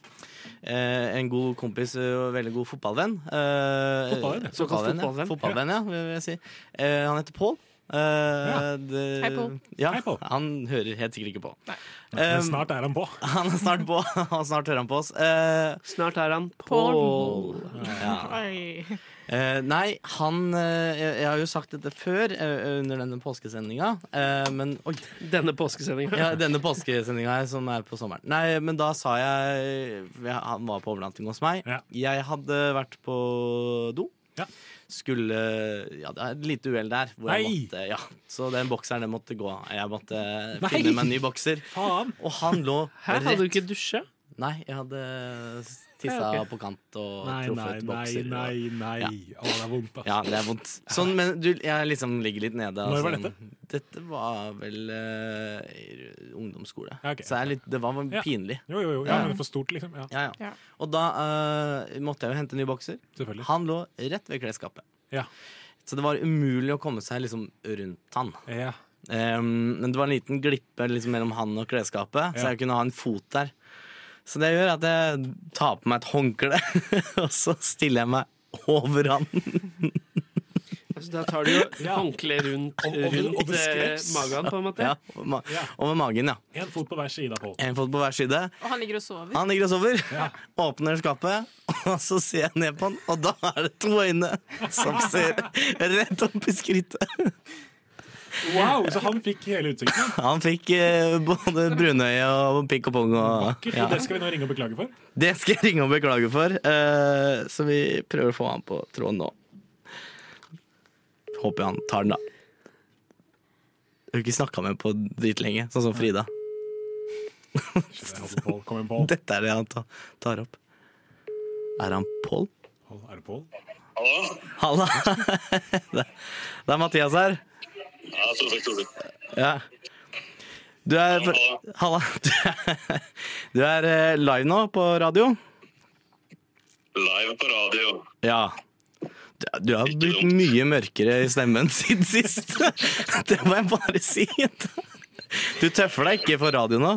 S1: eh, en god kompis og veldig god fotballvenn. Eh,
S3: fotballvenn.
S2: Fotballvenn, ja. Fotballvenn, ja, vil jeg si. Eh, han heter Pål. Eh, det-
S3: Hei, Pål.
S2: Ja, Han hører helt sikkert ikke på. Eh,
S3: Men snart er han på.
S2: Han er snart på, og snart hører han på oss.
S4: snart er han
S2: Pål. Ja.
S9: Oi.
S2: Eh, nei, han eh, jeg, jeg har jo sagt dette før eh, under denne påskesendinga, eh, men oi.
S4: Denne påskesendinga?
S2: Ja, denne påskesendinga her som er på sommeren. Nei, men da sa jeg for jeg- Han var på overnatting hos meg. Jeg hadde vært på do. Skulle Ja, det er et lite uhell der. Hvor jeg
S3: Nei!
S2: måtte, ja. Så den bokseren den måtte gå. Jeg måtte
S4: Nei!
S2: finne meg en ny bokser. Og han lå
S4: Her hadde du ikke dusja?
S2: Nei, jeg hadde tissa
S4: Ja, ok.
S2: på kant og
S3: Nei, nei,
S2: truffet
S3: nei,
S2: bokser. og-
S3: nei. nei. Å, det er vondt, ass.
S2: ja, det er vondt. Sånn, men du, jeg liksom ligger litt nede.
S3: Når var
S2: altså. Dette var vel eh, i ungdomsskole.
S3: Ja, ok.
S2: Så jeg er litt, det var
S3: Ja.
S2: pinlig.
S3: Jo, jo, jo. Ja, men det er for stort, liksom. Ja.
S2: Ja, ja. Og da eh, måtte jeg jo hente en ny bokser. Han lå rett ved klesskapet.
S3: Ja.
S2: Så det var umulig å komme seg liksom rundt han. Ehm, men det var en liten glippe liksom, mellom han og klesskapet,
S3: Ja.
S2: så jeg kunne ha en fot der. Så det gjør at jeg tar på meg et håndkle, og så stiller jeg meg over han.
S4: Altså, da tar du jo håndkleet rundt, rundt eh, magen, på en måte.
S2: Ja, over, ma over magen, ja.
S3: En fot på hver side av Pål.
S2: En fot på hver side.
S9: Og han ligger og sover.
S2: Han ligger og sover. Åpner skapet, og så ser jeg ned på han, og da er det to øyne som ser rett opp i skrittet.
S3: Wow, så han fikk hele utsikten.
S2: Han fikk eh, både brunøye og pikk og pung. Og,
S3: Kult,
S2: ja.
S3: og Det skal vi nå ringe og beklage for.
S2: Det skal jeg ringe og beklage for, eh, så vi prøver å få han på tråden nå. Håper han tar den, da. Jeg har ikke snakka med på dritlenge, sånn som Frida. Dette er det han ta- tar opp. Er han Pål?
S3: Pål, Er det Pål?
S2: Halla! Det det er Mathias her.
S12: Ja, jeg tror jeg tror det.
S2: Ja. Du er Halla. Du er- Du er eh, live nå på radio.
S12: Live på radio.
S2: Ja. Du, du har blitt mye mørkere i stemmen siden sist. Det må jeg bare si. Du tøffer deg ikke for radio nå?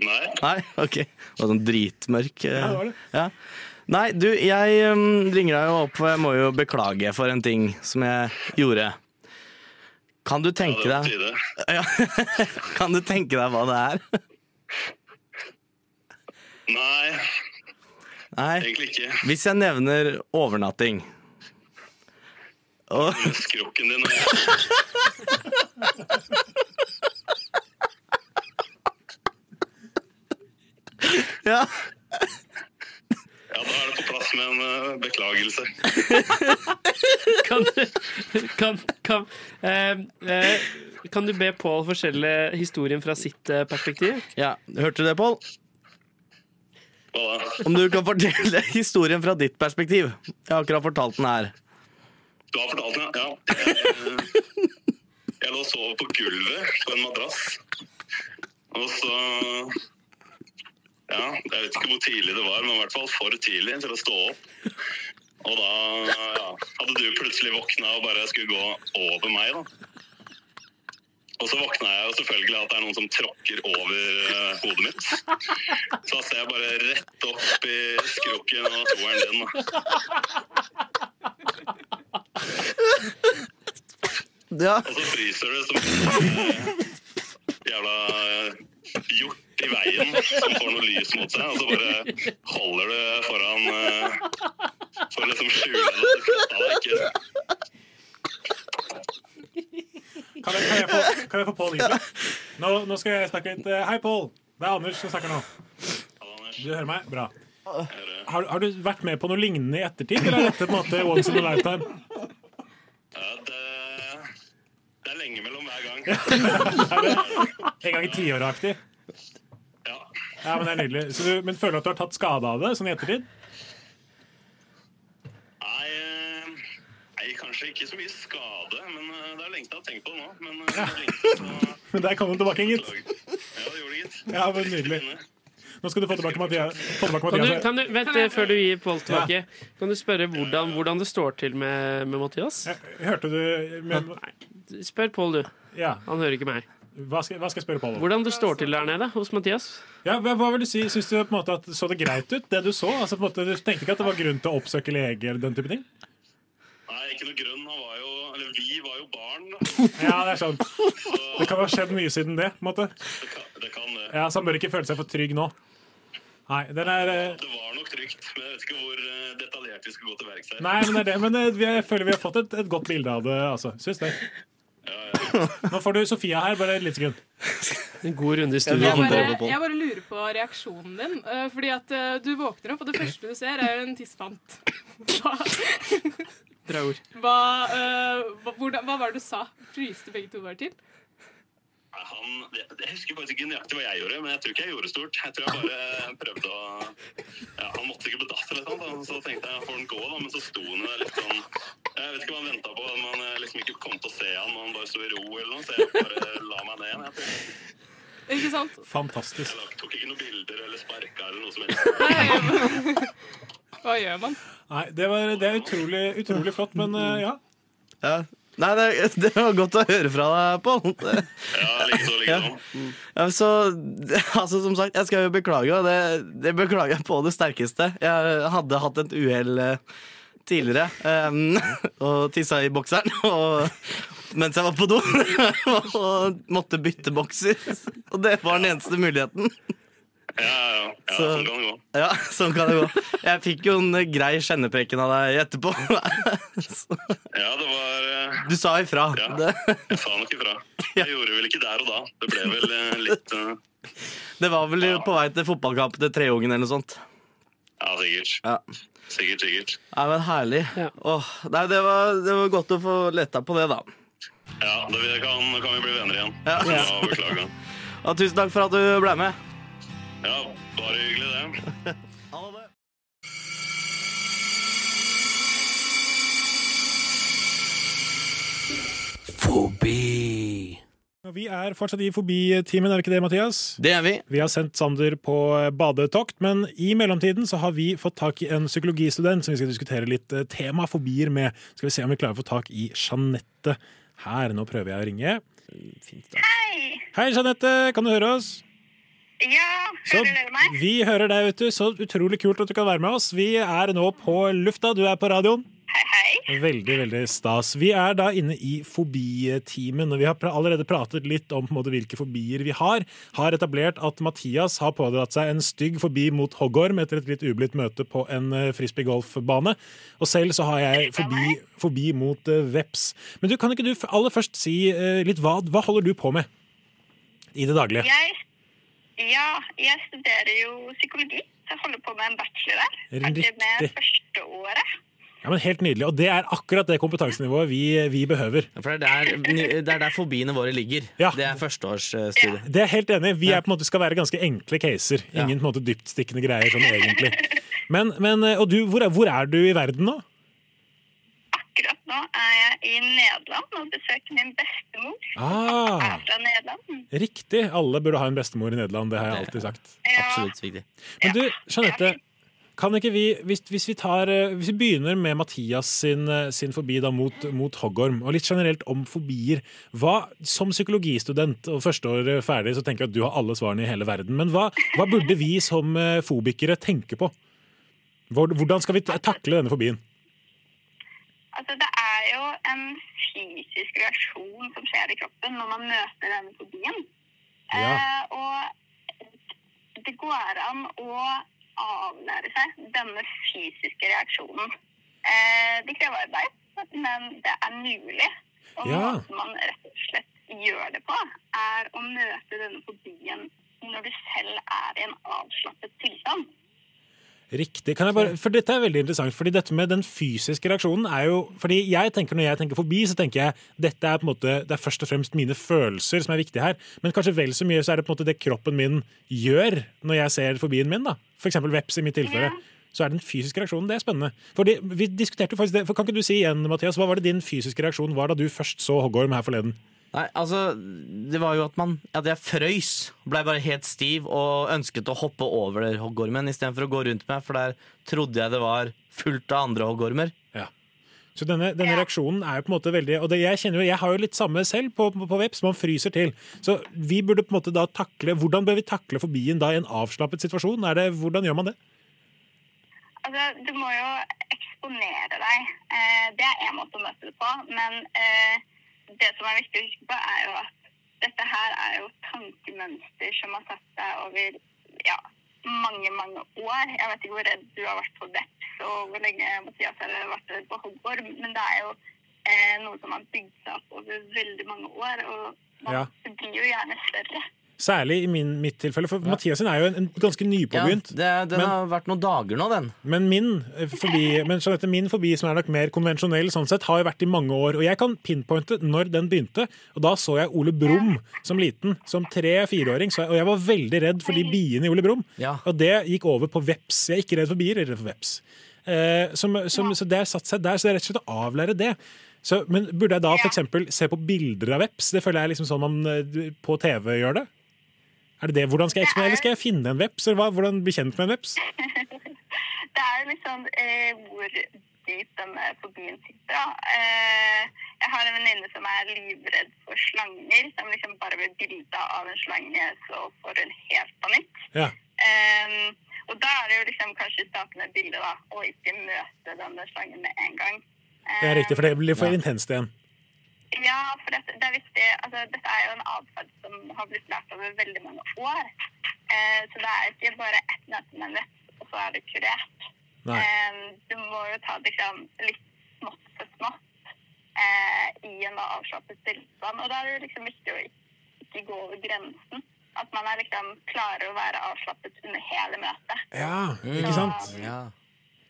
S12: Nei.
S2: Nei, ok. Det var sånn dritmørk. eh,
S12: Ja, det var det.
S2: Ja. Nei, du, jeg um, ringer deg jo opp, for jeg må jo beklage for en ting som jeg gjorde. Kan du tenke
S12: Ja,
S2: deg
S12: det var
S2: ja. Kan du tenke deg hva det er?
S12: Nei,
S2: Nei.
S12: egentlig ikke.
S2: Hvis jeg nevner overnatting og,
S12: Skrukken din altså. er
S2: ja.
S12: Ja, da er det på plass med en eh, beklagelse.
S4: Kan du, kan, kan, eh, eh, kan du be Pål fortelle historien fra sitt eh, perspektiv?
S2: ja. Hørte du det, Pål?
S12: Hva da?
S2: Om du kan fortelle historien fra ditt perspektiv. Jeg har akkurat fortalt den her.
S12: Du har fortalt den, ja. ja. Eh, Jeg lå og sov på gulvet på en madrass. Og så Ja, jeg vet ikke hvor tidlig det var, men i hvert fall for tidlig til å stå opp. Og da ja, hadde du plutselig våkna og bare skulle gå over meg, da. Og så våkna jeg jo selvfølgelig at det er noen som tråkker over eh, hodet mitt. Så da ser jeg bare rett opp i skrukken og toeren din, da.
S2: Ja.
S12: Og så fryser du som en jævla hjort i veien som får noe lys mot seg, og så bare holder du foran eh, For å liksom skjule det. Du flytta deg ikke.
S3: Kan jeg, kan jeg få, kan jeg få Pål inn? Nå, nå skal jeg snakke litt. Eh, Hei, Pål. Det er Anders som snakker nå. Du hører meg? Bra. Har, har du vært med på noe lignende i ettertid, eller er dette på en måte once in a lifetime?
S12: Det er lenge mellom hver gang.
S3: Er det en gang i tiåret-aktig? Ja, men det er nydelig. Så du, men føler du at du har tatt skade av det sånn i ettertid?
S12: Nei, eh, nei, kanskje ikke så mye skade, men eh, det er lenge til jeg har tenkt på det nå. Men eh, det er lenge til å
S3: Men der kom den tilbake, gitt.
S12: Ja, det gjorde det, gitt.
S3: Ja, men nydelig. Nå skal du få tilbake Mathias. Få tilbake
S4: Kan du,
S3: Mathias.
S4: kan du, vent, eh, før du gir Pål tilbake, kan du spørre hvordan, hvordan det står til med, med Mathias?
S3: Hørte du men,
S4: Spør Pål, du.
S3: Ja.
S4: Han hører ikke meg.
S3: Hva skal, hva skal jeg spørre Pål om?
S4: Hvordan det står til der nede hos Mathias?
S3: Ja, hva, hva vil du si? Syns du på en måte at så det greit ut, det du så? Altså, på en måte, du tenkte ikke at det var grunn til å oppsøke lege eller den type ting?
S12: Nei, ikke noe grønn. Han var jo Eller vi var jo barn. da.
S3: Ja, det er sant. Det kan jo ha skjedd mye siden det. på en måte. Ja, Så han bør ikke føle seg for trygg nå. Nei, den er eh,
S12: Det var nok trygt, men jeg vet ikke hvor eh, detaljert vi skal gå til verks her.
S3: Nei, men det er det. Men eh, vi- jeg føler vi har fått et, et godt bilde av det. altså. Syns det. Nå får du Sofia her, bare et lite sekund.
S13: En god runde i
S3: Ja,
S9: Jeg
S13: studio.
S9: bare, jeg bare lurer på reaksjonen din. eh, Fordi at eh, du våkner opp, og det første du ser, er en tisspant.
S4: Bra ord.
S9: Hva, eh, hva, hvordan, hva var det du sa? Fryste begge to bare til?
S12: Han, jeg, jeg husker faktisk ikke nøyaktig hva jeg gjorde, men jeg tror ikke jeg gjorde stort. Jeg tror jeg bare prøvde å ja, Han måtte ikke på dass eller noe sånt, da, så tenkte jeg får den gå, da, men så sto han der litt sånn Jeg vet ikke hva han venta på, om han eh, liksom ikke kom til å se han, og han bare sto i ro eller noe, så jeg bare la meg ned igjen. Jeg tror.
S9: Ikke sant?
S3: Fantastisk.
S12: Jeg tok ikke noen bilder eller sparka eller noe som helst.
S9: Hva gjør man?
S3: Nei, Det, var, det er utrolig, utrolig flott, men eh, ja.
S2: Ja. Nei, det, det var godt å høre fra deg, Pål.
S12: Ja, likeså, likeså.
S2: Ja, så, altså, som sagt, jeg skal jo beklage, og det, det beklager jeg på det sterkeste. Jeg hadde hatt et uhell eh, tidligere em, og tissa i bokseren og, mens jeg var på do. og måtte bytte bokser. Og det var den eneste muligheten.
S12: Ja, ja, ja,
S2: Så-
S12: sånn kan det gå.
S2: Ja, sånn kan det gå. Jeg fikk jo en eh, grei skjennepreken av deg etterpå. Så-
S12: Ja, det var eh,
S2: Du sa ifra.
S12: Ja,
S2: Det,
S12: jeg sa nok ifra. Jeg gjorde vel ikke der og da. Det ble vel eh, litt eh,
S2: det var vel på vei til fotballkamp til Treungen eller noe sånt.
S12: Ja, sikkert. Sikkert, sikkert.
S2: Nei, men herlig. Åh, nei, det var, det var godt å få letta på det, da.
S12: Ja, da vi kan, da kan vi bli venner igjen.
S2: Ja.
S12: Ja, beklager.
S2: Og tusen takk for at du ble med.
S12: Ja, bare hyggelig, det.
S13: Fobi.
S3: Og Vi er fortsatt i Fobi-timen, er det ikke det, Mathias?
S2: Det er vi.
S3: Vi har sendt Sander på eh, badetokt, men i mellomtiden så har vi fått tak i en psykologistudent som vi skal diskutere litt eh, tema fobier med. Skal vi se om vi klarer å få tak i Jeanette her. Nå prøver jeg å ringe.
S14: Hei!
S3: Hei, Jeanette, kan du høre oss?
S14: Ja, hører dere meg?
S3: Vi hører deg, vet du. Så utrolig kult at du kan være med oss. Vi er nå på lufta. Du er på radioen. Veldig veldig stas. Vi er da inne i fobitimen, og vi har pra- allerede pratet litt om på en måte, hvilke fobier vi har. Har etablert at Mathias har pådratt seg en stygg fobi mot hoggorm etter et litt ublidt møte på en eh, frisbeegolfbane. Og selv så har jeg fobi, fobi mot eh, veps. Men du, kan ikke du f- aller først si eh, litt hva, hva holder du på med i det daglige?
S14: Jeg, ja, jeg studerer jo psykologi. så Jeg holder på med en bachelor der. Ferdig med
S3: Riktig.
S14: første året.
S3: Ja, men Helt nydelig. Og det er akkurat det kompetansenivået vi, vi behøver.
S2: For det er der, det er der fobiene våre ligger. Det er førsteårsstudiet.
S3: Det er jeg helt enig. i. Vi er på en måte skal være ganske enkle caser. Ingen på en måte dyptstikkende greier sånn egentlig. Men, men og du, hvor er, hvor er du i verden nå?
S14: Akkurat nå er jeg i Nederland og besøker min bestemor
S3: Ah,
S14: fra Nederland.
S3: riktig. Alle burde ha en bestemor i Nederland. Det har jeg alltid sagt.
S2: Absolutt viktig.
S3: Men du, Jeanette. Kan ikke vi, hvis, hvis, vi tar, eh, hvis vi begynner med Mathias sin, eh, sin fobi da, mot, mot hoggorm, og litt generelt om fobier hva, Som psykologistudent og første år eh, ferdig, så tenker jeg at du har alle svarene i hele verden. Men hva, hva burde vi som eh, fobikere tenke på? Hvor- Hvordan skal vi ta- takle denne fobien?
S14: Altså, det er jo en fysisk reaksjon som skjer i kroppen når man møter denne fobien. Eh, og det går an å avlære seg denne fysiske reaksjonen. Eh, det krever arbeid, men det er mulig. Og
S5: Ja.
S14: måten man rett og slett gjør det på, er å møte denne fobien når du selv er i en avslappet tilstand.
S3: Riktig. Kan jeg bare, for dette er veldig interessant, fordi dette med den fysiske reaksjonen er jo fordi jeg tenker Når jeg tenker forbi, så tenker jeg dette er på en måte, det er først og fremst mine følelser som er viktige her. Men kanskje vel så mye så er det på en måte det kroppen min gjør når jeg ser forbien min. da. For eksempel veps i mitt tilfelle. Så er den fysiske reaksjonen det er spennende. Fordi vi diskuterte jo faktisk det, for Kan ikke du si igjen, Mathias, hva var det din fysiske reaksjon var da du først så hoggorm her forleden?
S2: Nei, altså, det var jo at man At jeg frøys. Blei bare helt stiv og ønsket å hoppe over hoggormen istedenfor å gå rundt meg, for der trodde jeg det var fullt av andre hoggormer.
S3: Så denne, denne reaksjonen er jo på en måte veldig Og det, jeg kjenner jo, jeg har jo litt samme selv på, på, på veps, man fryser til. Så vi burde på en måte da takle Hvordan bør vi takle fobien da i en avslappet situasjon? Er det, hvordan gjør man det?
S14: Altså, du må jo eksponere deg. Eh, Det er én måte å møte det på. Men eh, det som er viktig å huske på, er jo at dette her er jo tankemønster som har satt seg over ja, mange, mange år. Jeg vet ikke hvor redd du har vært for veps, og hvor lenge Mathias har vært redd for hoggorm, men det er jo eh, noe som har bygd seg opp over veldig mange år, og
S3: Ja.
S14: det blir jo gjerne større.
S3: Særlig i min, mitt tilfelle, for Mathias sin er jo en, en ganske nypåbegynt.
S2: Ja, det- den har vært noen dager nå, den.
S3: Men min eh, fobi, men Jeanette, min fobi, som er nok mer konvensjonell, sånn sett, har jo vært i mange år. Og jeg kan pinpointe når den begynte. Og da så jeg Ole Brumm som liten, som tre-fireåring. så jeg- Og jeg var veldig redd for de biene i Ole Brumm. Og det gikk over på veps. Jeg er ikke redd for bier, jeg er redd for veps. Eh, som, som, Så det har satt seg der. Så det er rett og slett å avlære det. Så, men burde jeg da f.eks. se på bilder av veps? Det føler jeg er liksom sånn man eh, på TV gjør det. Er det det? Hvordan skal jeg eksponere? Eller skal jeg finne en veps? Eller hva? Hvordan bli kjent med en veps?
S14: det er jo litt sånn eh, hvor dypt denne fobien sitter. Da. Eh, jeg har en venninne som er livredd for slanger. Som liksom bare ved bildet av en slange, så får hun helt panikk.
S3: Ja.
S14: Eh, og da er det jo liksom kanskje starte med bildet, da. Og ikke møte denne slangen med en gang.
S3: Det er riktig, for det blir for intenst igjen.
S14: Ja, for det, det er viktig. Altså, dette er jo en atferd som har blitt lært over veldig mange år. Eh, så det er ikke bare ett møte med en veps, og så er det kurert.
S3: Nei.
S14: Eh, du må jo ta det liksom, litt smått for smått eh, i en da avslappet tilstand. Og da er det jo liksom viktig å ikke- ikke gå over grensen. At man er liksom klarer å være avslappet under hele møtet.
S3: Ja, ikke sant?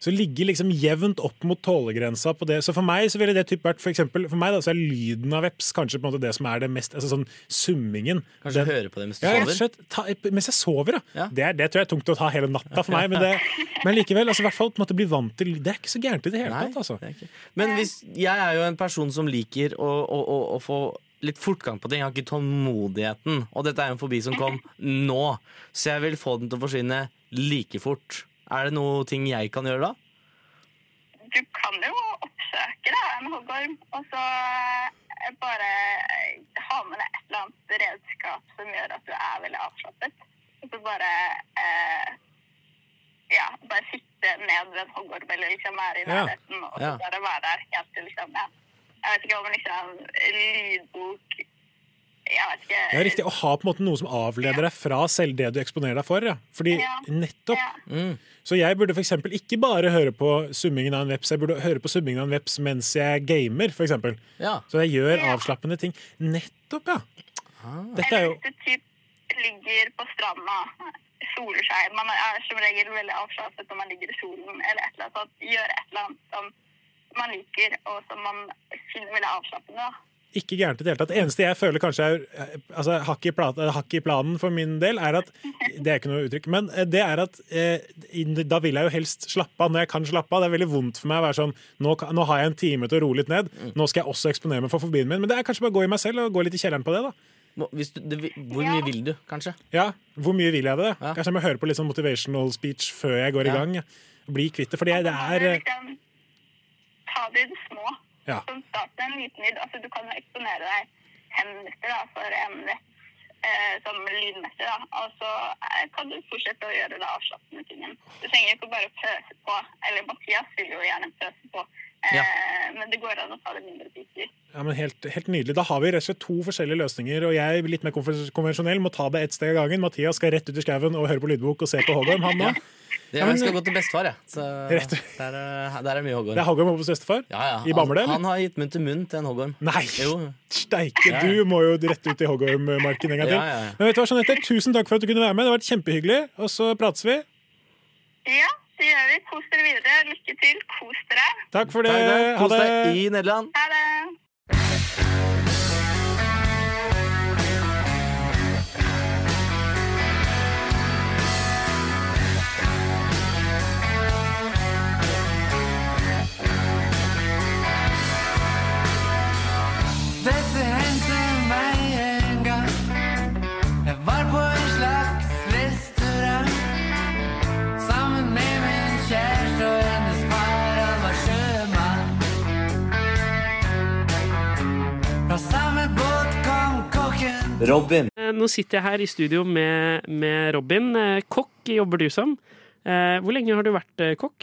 S3: Så ligge liksom jevnt opp mot tålegrensa på det. Så for meg så ville det typ vært for eksempel, for meg da, så er lyden av veps kanskje på en måte det som er det mest altså sånn summingen.
S2: Kanskje høre på det mens du
S3: ja, rett og
S2: sover?
S3: Slett, ta, mens jeg sover, sånn ja. Det, er, det tror jeg er tungt å ta hele natta for meg, men, det, men likevel. altså i hvert fall på en måte bli vant til Det er ikke så gærent i det hele tatt, altså.
S2: Men hvis, jeg er jo en person som liker å, å, å, å få litt fortgang på ting. Jeg har ikke tålmodigheten. Og dette er jo en fobi som kom nå, så jeg vil få den til å forsvinne like fort. Er det noe ting jeg kan gjøre da?
S14: du kan jo oppsøke da, en hoggorm, og så eh, bare eh, ha med deg et eller annet redskap som gjør at du er veldig avslappet. Og så bare eh, ja, bare sitte ned ved en hoggorm eller liksom være i
S5: Ja.
S14: nærheten, og så
S5: Ja.
S14: bare være der helt til liksom, ja. Jeg vet ikke om liksom en lydbok Jeg vet ikke.
S3: Det er riktig å ha på en måte noe som avleder deg fra selv det du eksponerer deg for. Ja. Fordi nettopp. Mm. Så jeg burde f.eks. ikke bare høre på summingen av en veps, jeg burde høre på summingen av en veps mens jeg gamer, f.eks.
S2: Ja.
S3: Så jeg gjør avslappende ting. Nettopp, ja! Dette er jo
S14: Eller hvis du typ ligger på stranda, soler seg. Man er som regel veldig avslappet når man ligger i solen, eller et eller annet sånt. Gjøre et eller annet som man liker, og som man finner veldig avslappende. da.
S3: ikke gærent i det hele tatt. Det eneste jeg føler kanskje er altså, hakk, i plat, hakk i planen for min del, er at Det er ikke noe uttrykk, men eh, det er at eh, i- da vil jeg jo helst slappe av når jeg kan slappe av. Det er veldig vondt for meg å være sånn nå, kan- nå har jeg en time til å roe litt ned. Nå skal jeg også eksponere meg for fobien min. Men det er kanskje bare å gå i meg selv og gå litt i kjelleren på det, da.
S2: hvor mye vil du, kanskje?
S3: Ja, hvor mye vil jeg det? Kanskje jeg må høre på litt sånn motivational speech før jeg går
S2: Ja.
S3: i gang. Bli kvitt det. Fordi jeg- det er eh,
S14: Liksom, ta det i det små.
S3: Ja.
S14: Som start med en liten lyd. Altså, du kan jo eksponere deg fem minutter da, for en rett eh, som lydmessig. Da. Og så eh, kan du fortsette å gjøre det avslappende tingen. Du trenger ikke bare pøse på. Eller Mathias vil jo gjerne pøse på. Eh, Men det går an å ta det mindre biter.
S3: Ja, men helt, helt nydelig. Da har vi rett og slett to forskjellige løsninger, og jeg litt mer konf- konvensjonell må ta det ett steg av gangen. Mathias skal rett ut i skauen og høre på lydbok og se på Hoggorm, han nå.
S2: Jeg
S3: Ja, men-
S2: skal gå til bestefar, jeg. Så
S3: Rett.
S2: der, er- der er mye hoggorm.
S3: Det er Hoggorm oppe hos bestefar?
S2: Ja, ja. Altså,
S3: I Bamble,
S2: Han,
S3: eller?
S2: han har gitt munn til munn til en hoggorm.
S3: Nei!
S2: Jo.
S3: Steike, du må jo rett ut i Hoggorm-marken en gang til.
S2: Ja, ja, ja.
S3: Men vet du hva, Jeanette, tusen takk for at du kunne være med. Det har vært kjempehyggelig, og så prates vi.
S14: Ja, det gjør vi. Kos dere videre. Lykke til. Kos dere.
S3: Takk for det.
S2: Takk, takk.
S3: Ha
S2: Kos deg
S3: det.
S2: i Nederland.
S14: Ha det.
S5: Dette hendte meg en gang. Jeg var på en slags restaurant. Sammen med min kjæreste og hennes far, han var sjømann. Fra samme båt kom kokken.
S2: Robin.
S4: Eh, Nå sitter jeg her i studio med, med Robin. Eh, Kokk jobber du som. Eh, Hvor lenge har du vært eh, kokk?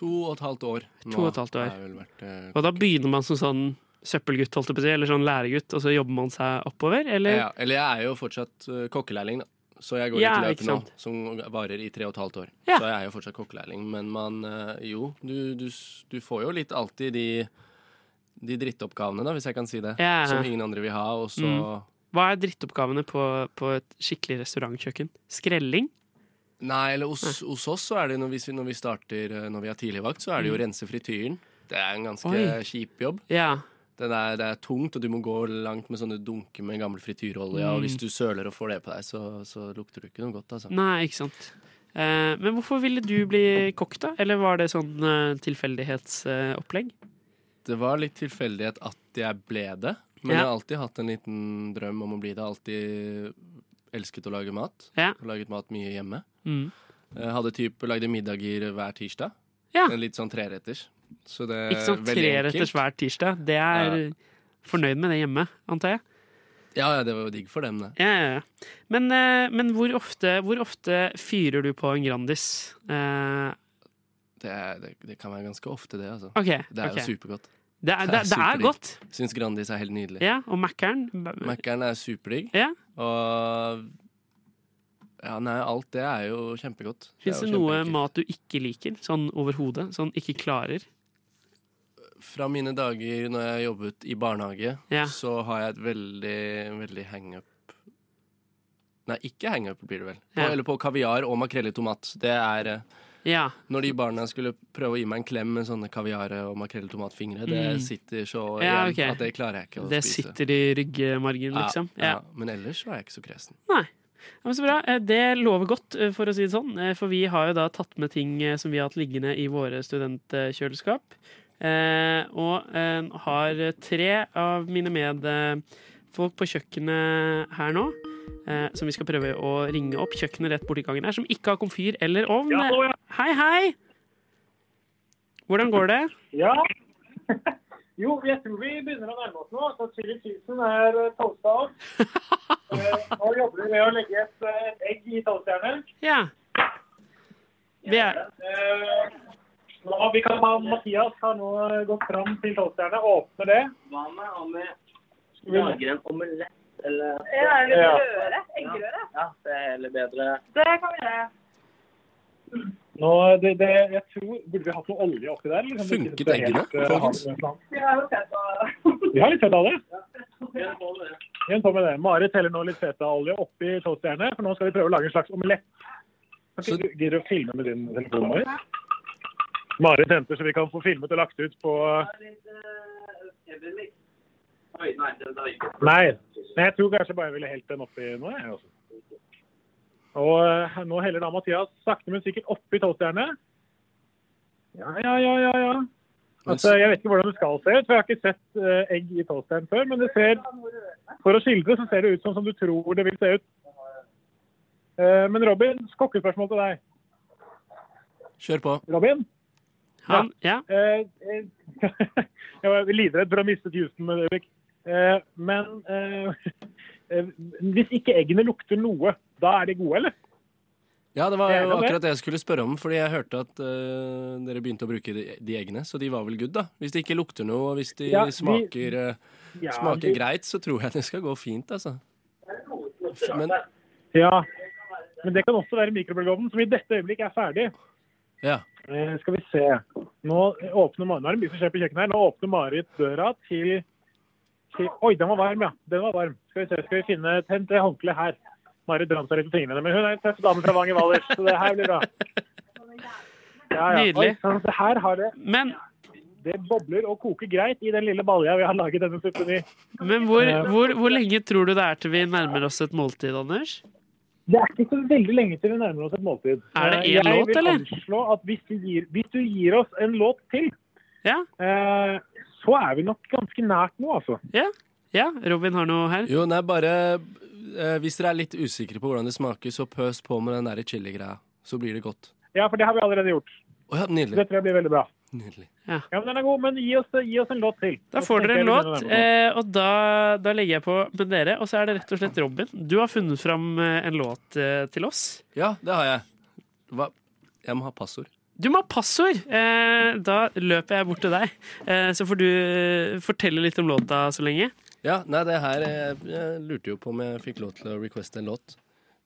S13: To og et halvt år. nå
S4: To og et halvt
S13: har
S4: år.
S13: jeg vel vært, eh,
S4: Og da begynner man som sånn søppelgutt, holdt jeg på å si, eller sånn læregutt, og så jobber man seg oppover, eller?
S13: Ja, eller jeg er jo fortsatt eh, kokkelærling, da. Så jeg går
S4: Ja,
S13: et
S4: ikke
S13: løp nå
S4: sant.
S13: som varer i tre og et halvt år.
S4: Ja.
S13: Så jeg er jo fortsatt kokkelærling. Men man eh, Jo, du, du, s- du får jo litt alltid de, de drittoppgavene, da, hvis jeg kan si det.
S4: Ja.
S13: Som ingen andre vil ha, og så
S4: Mm. Hva er drittoppgavene på, på et skikkelig restaurantkjøkken? Skrelling?
S13: Nei, eller hos, hos oss så er det når vi, når vi starter eh, Når vi har tidligvakt, så er det jo å
S4: Mm.
S13: rense frityren. Det er en ganske
S4: Oi.
S13: kjip jobb. Det, er, det er tungt, og du må gå langt med sånne dunker med gammel frityrolje.
S4: Mm.
S13: Og hvis du søler og får det på deg, så, så lukter du ikke noe godt. Altså.
S4: Nei, ikke sant. Eh, men hvorfor ville du bli kokk, da? Eller var det sånn eh, tilfeldighetsopplegg?
S13: Det var litt tilfeldighet at jeg ble det. Men
S4: Ja.
S13: jeg har alltid hatt en liten drøm om å bli det. Alltid elsket å lage mat.
S4: Ja.
S13: Laget mat mye hjemme.
S4: Mm.
S13: Jeg hadde typ, lagde middager hver tirsdag.
S4: Ja.
S13: En litt sånn treretters. Så det er
S4: ikke sant,
S13: Eh, veldig enkelt.
S4: treretters hver tirsdag. Det er fornøyd med det hjemme, antar jeg.
S13: Ja, ja, det var jo digg for dem, det.
S4: Ja, ja, ja. Men, eh, men hvor, ofte, hvor ofte fyrer du på en Grandis? Eh,
S13: Det, er, det, det kan være ganske ofte, det. altså
S4: Ok,
S13: Det er
S4: ok.
S13: jo supergodt.
S4: Det er- det- det er
S13: superdigg.
S4: godt.
S13: Syns Grandis er helt nydelig.
S4: ja, og Mækkern?
S13: Mækkern er superdigg. Og ja, nei, alt det er jo kjempegodt.
S4: Fins
S13: er
S4: det
S13: jo
S4: noe
S13: kjempeenkelt.
S4: mat du ikke liker, sånn overhodet? Sånn ikke klarer?
S13: Fra mine dager når jeg jobbet i barnehage,
S4: Ja.
S13: så har jeg et veldig, veldig hangup Nei, ikke hangup blir det vel. På,
S4: Ja.
S13: Eller på kaviar og makrell i tomat. Det er eh,
S4: Ja.
S13: Når de barna skulle prøve å gi meg en klem med sånne kaviar og makrell i tomatfingre, det
S4: Mm.
S13: sitter så
S4: Ja,
S13: igjen
S4: ok.
S13: at det klarer jeg ikke å
S4: Det
S13: spise.
S4: sitter i ryggmargen, liksom.
S13: Ja, ja.
S4: Ja.
S13: Men ellers var jeg ikke så kresen.
S4: Nei. Ja, men så bra. Eh, Det lover godt, eh, for å si det sånn. Eh, For vi har jo da tatt med ting eh, som vi har hatt liggende i våre studentkjøleskap. Eh, og eh, har tre av mine medfolk på kjøkkenet her nå. Eh, som vi skal prøve å ringe opp. Kjøkkenet rett borti gangen her, som ikke har komfyr eller ovn.
S15: Ja, å, ja.
S4: Hei, hei! Hvordan går det?
S15: Ja. Jo, jeg tror vi begynner å nærme oss nå. Så Chili Cheesen er eh, toasta opp. Eh, Nå jobber vi med å legge et eh, et egg i toastjernet.
S4: Ja. Vi er
S15: Eh, Nå vi kan ha Mathias har nå gått fram til toastjernet, åpner det.
S8: Hva med om vi
S15: vi lager
S8: lager en omelett eller
S15: Ja, eller Ja.
S8: røre? Eggerøre? Ja, det er heller bedre.
S15: Det kan vi gjøre. Nå, det, det, jeg tror, Burde vi hatt noe olje oppi der? Liksom,
S13: Funket
S15: Det er helt,
S13: eggene,
S15: eh,
S13: folkens?
S15: harmløst land.
S8: Vi har jo sett
S15: Vi har litt fetaolje.
S8: det.
S15: Igjen på med det. Marit heller nå litt fetaolje oppi toastjernet, for nå skal vi prøve å lage en slags omelett. Kan ikke du- Gidder du å filme med din telefon? Marit? Marit henter, så vi kan få filmet og lagt ut på
S8: Oi, nei, det er ikke
S15: Nei. Nei, jeg tror kanskje bare jeg ville helt den oppi nå, jeg. Også. Og eh, nå heller da Mathias sakte, men sikkert oppi toastjernet. Ja, ja, ja, ja. ja. Altså, jeg vet ikke hvordan det skal se ut, for jeg har ikke sett eh, egg i toastjern før. Men det ser, for å skildre så ser det ut sånn som du tror det vil se ut. Eh, men Robin, kokkespørsmål til deg.
S13: Kjør på.
S15: Robin?
S4: Han, ja.
S15: Eh, eh, jeg var livredd for å miste Houston med et øyeblikk. Eh, men eh, eh, hvis ikke eggene lukter noe, da er de gode, eller?
S13: Ja, det var
S15: Det er
S13: jo
S15: det.
S13: akkurat det jeg skulle spørre om, fordi jeg hørte at eh, dere begynte å bruke de, de eggene, så de var vel good, da? Hvis det ikke lukter noe, og hvis de
S15: Ja, de-
S13: smaker, eh,
S15: Ja,
S13: smaker
S15: de-
S13: greit, så tror jeg det skal gå fint, altså. Men
S15: Ja. Men det kan også være mikrobølgeovnen, som i dette øyeblikk er ferdig.
S13: ja.
S15: Eh, skal vi se. Nå åpner Marit, nå er det mye som skjer på kjøkkenet her. Nå åpner Marit døra til, til Oi, den var varm, ja. Den var varm. Skal vi se, skal vi finne Hent det håndkleet her. Marit drømte seg litt på fingrene, men hun er en tøff dame fra Vangen Valdres, så det her blir bra. Ja, ja.
S4: Nydelig.
S15: Oi, sånn, det her har det
S4: Men
S15: Det bobler og koker greit i den lille balja vi har laget denne suppen i.
S4: Men hvor,
S15: Eh,
S4: hvor, hvor lenge tror du det er til vi nærmer oss et måltid, Anders?
S15: Det er ikke så veldig lenge til vi nærmer oss et måltid.
S4: Er det
S15: Eh,
S4: én låt, eller?
S15: Jeg vil anslå at hvis du gir, hvis du gir oss en låt til, eh, så er vi nok ganske nært nå, altså.
S4: Ja. ja, Robin har noe her.
S13: Jo, nei, bare eh, Hvis dere er litt usikre på hvordan det smaker, så pøs på med den derre chili-greia. Så blir det godt.
S15: Ja, for det har vi allerede gjort.
S13: Å ja, nydelig.
S15: Det tror jeg blir veldig bra.
S13: Nydelig.
S4: Ja.
S15: men Den er god, men gi oss, gi oss en låt til.
S4: Da
S15: Og så
S4: får dere en
S15: tenker jeg vi
S4: låt,
S15: begynner å nærme oss nå.
S4: eh, og da, da legger jeg på med dere. Og så er det rett og slett Robin. Du har funnet fram eh, en låt eh, til oss.
S13: Ja, det har jeg. Hva? Jeg må ha passord.
S7: Du må ha passord! Eh, da løper jeg bort til deg, eh, så får du eh, fortelle litt om låta så lenge.
S13: Ja, nei, det her Jeg, jeg lurte jo på om jeg fikk lov til å requeste en låt.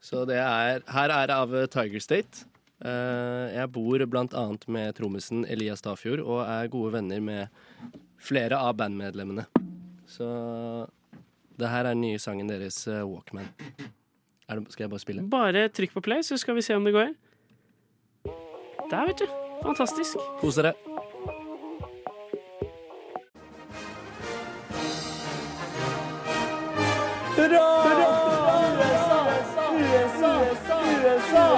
S13: Så det er Her er det av Tiger State. Eh, jeg bor blant annet med trommisen Elias Stafjord og er gode venner med flere av bandmedlemmene. Så det her er den nye sangen deres, eh, Walkman. Er det, skal jeg bare spille?
S7: Bare trykk på play, så skal vi se om det går. Der, vet du. Fantastisk.
S13: Kos dere.
S5: Hurra! USA! USA! USA!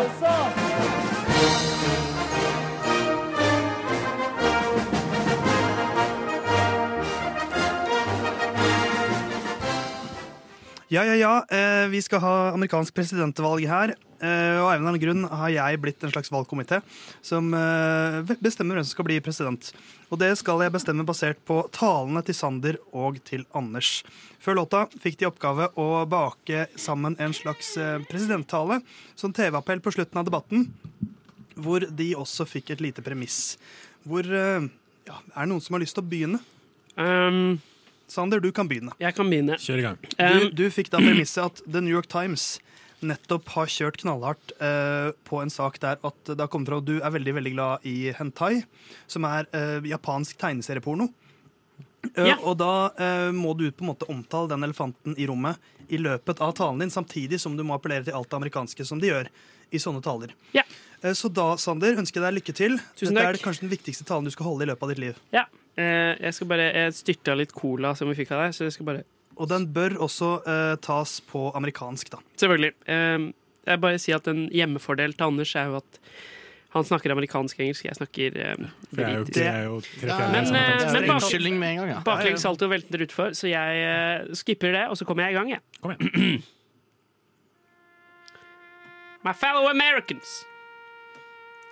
S16: Ja, ja, ja. Eh, vi skal ha amerikansk presidentvalg her. Eh, og av en eller annen grunn har jeg blitt en slags valgkomité som eh, bestemmer hvem som skal bli president. Og det skal jeg bestemme basert på talene til Sander og til Anders. Før låta fikk de i oppgave å bake sammen en slags eh, presidenttale som TV-appell på slutten av debatten, hvor de også fikk et lite premiss. Hvor eh, ja, Er det noen som har lyst til å begynne? Sander, du kan begynne.
S7: Ehm, Jeg kan begynne. Ehm,
S4: Kjør i gang.
S16: Du, du fikk da premisset at The New York Times nettopp har kjørt knallhardt eh, på en sak der at det har kommet fra at du er veldig veldig glad i hentai, som er eh, japansk tegneserieporno. Eh, Og da eh, må du på en måte omtale den elefanten i rommet i løpet av talen din, samtidig som du må appellere til alt det amerikanske som de gjør i sånne taler. Eh, så da, Sander, ønsker jeg deg lykke til.
S7: Tusen
S16: Dette
S7: takk.
S16: er kanskje den viktigste talen du skal holde i løpet av ditt liv.
S7: Ja. Eh, jeg skal bare Jeg styrta litt cola som vi fikk av deg, så jeg skal bare
S16: Og den bør også eh, tas på amerikansk, da.
S7: Selvfølgelig. Eh, jeg bare sier at en hjemmefordel til Anders er jo at han snakker amerikansk og engelsk, jeg snakker eh,
S4: For jeg er jo-
S7: britisk.
S4: jeg er jo tre
S7: Ja,
S4: fjerdedeler
S7: Men, eh,
S4: samtidig.
S7: men
S4: Det er
S7: bak-
S4: unnskyldning med en gang, ja.
S7: Baklengs salto velter utfor, så jeg eh, skipper det, og så kommer jeg i gang, jeg. My fellow Americans,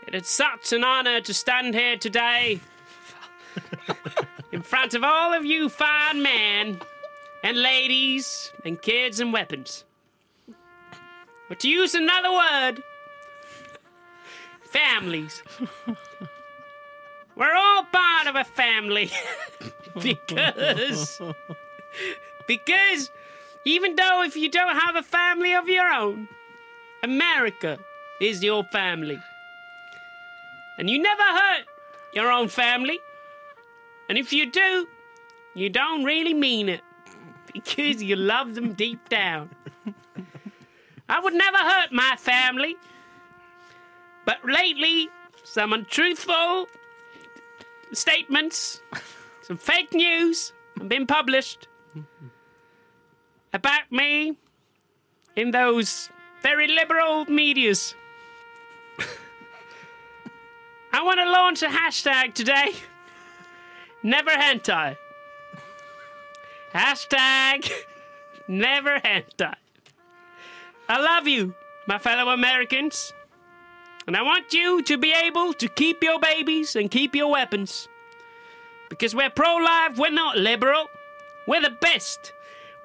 S7: it is such an honor to stand here today in front of all of you fine men and ladies and kids and weapons. But to use another word, families. We're all part of a family because because even though if you don't have a family of your own, America is your family. And you never hurt your own family. And if you do, you don't really mean it because you love them deep down. I would never hurt my family. But lately, some untruthful statements, some fake news have been published about me in those very liberal medias. I want to launch a hashtag today. Never hentai. Hashtag never hentai. I love you, my fellow Americans. And I want you to be able to keep your babies and keep your weapons. Because we're pro life, we're not liberal. We're the best.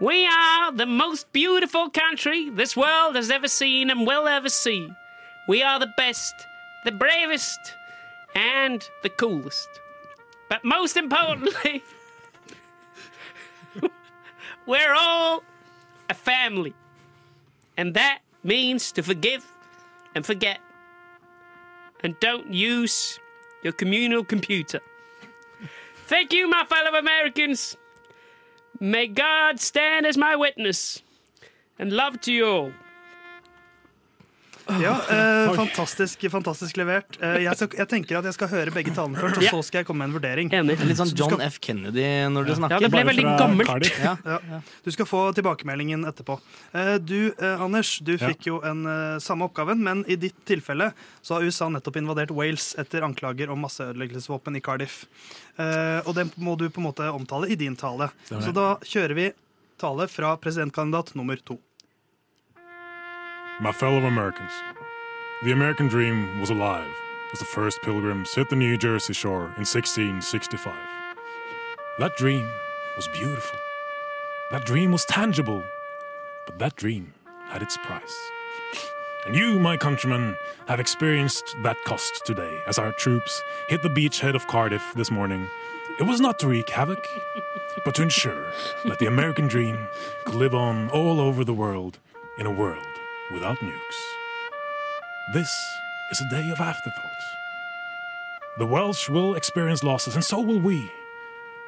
S7: We are the most beautiful country this world has ever seen and will ever see. We are the best, the bravest, and the coolest. But most importantly, we're all a family. And that means to forgive and forget. And don't use your communal computer. Thank you, my fellow Americans. May God stand as my witness. And love to you all.
S16: Ja, eh,
S7: Ah. Oi.
S16: fantastisk, fantastisk levert. Eh, jeg, skal, jeg tenker at jeg skal høre begge talene først, og
S2: Ja.
S16: så skal jeg komme med en vurdering.
S2: Det er litt sånn
S16: Så du
S2: John
S16: skal-
S2: F. Kennedy når du snakker.
S16: Ja.
S2: Ja.
S16: Ja. Du skal få tilbakemeldingen etterpå. Eh, Du, eh, Anders, du
S2: Ja.
S16: fikk jo en eh, samme oppgaven, men i ditt tilfelle så har USA nettopp invadert Wales etter anklager om masseødeleggelsesvåpen i Cardiff. Eh, Og den må du på en måte omtale i din tale.
S5: Stemmer.
S16: Så da kjører vi tale fra presidentkandidat nummer to.
S3: My fellow Americans, the American dream was alive as the first pilgrims hit the New Jersey shore in 1665. That dream was beautiful. That dream was tangible. But that dream had its price. And you, my countrymen, have experienced that cost today as our troops hit the beachhead of Cardiff this morning. It was not to wreak havoc, but to ensure that the American dream could live on all over the world in a world without nukes. This is a day of afterthought. The Welsh will experience losses, and so will we.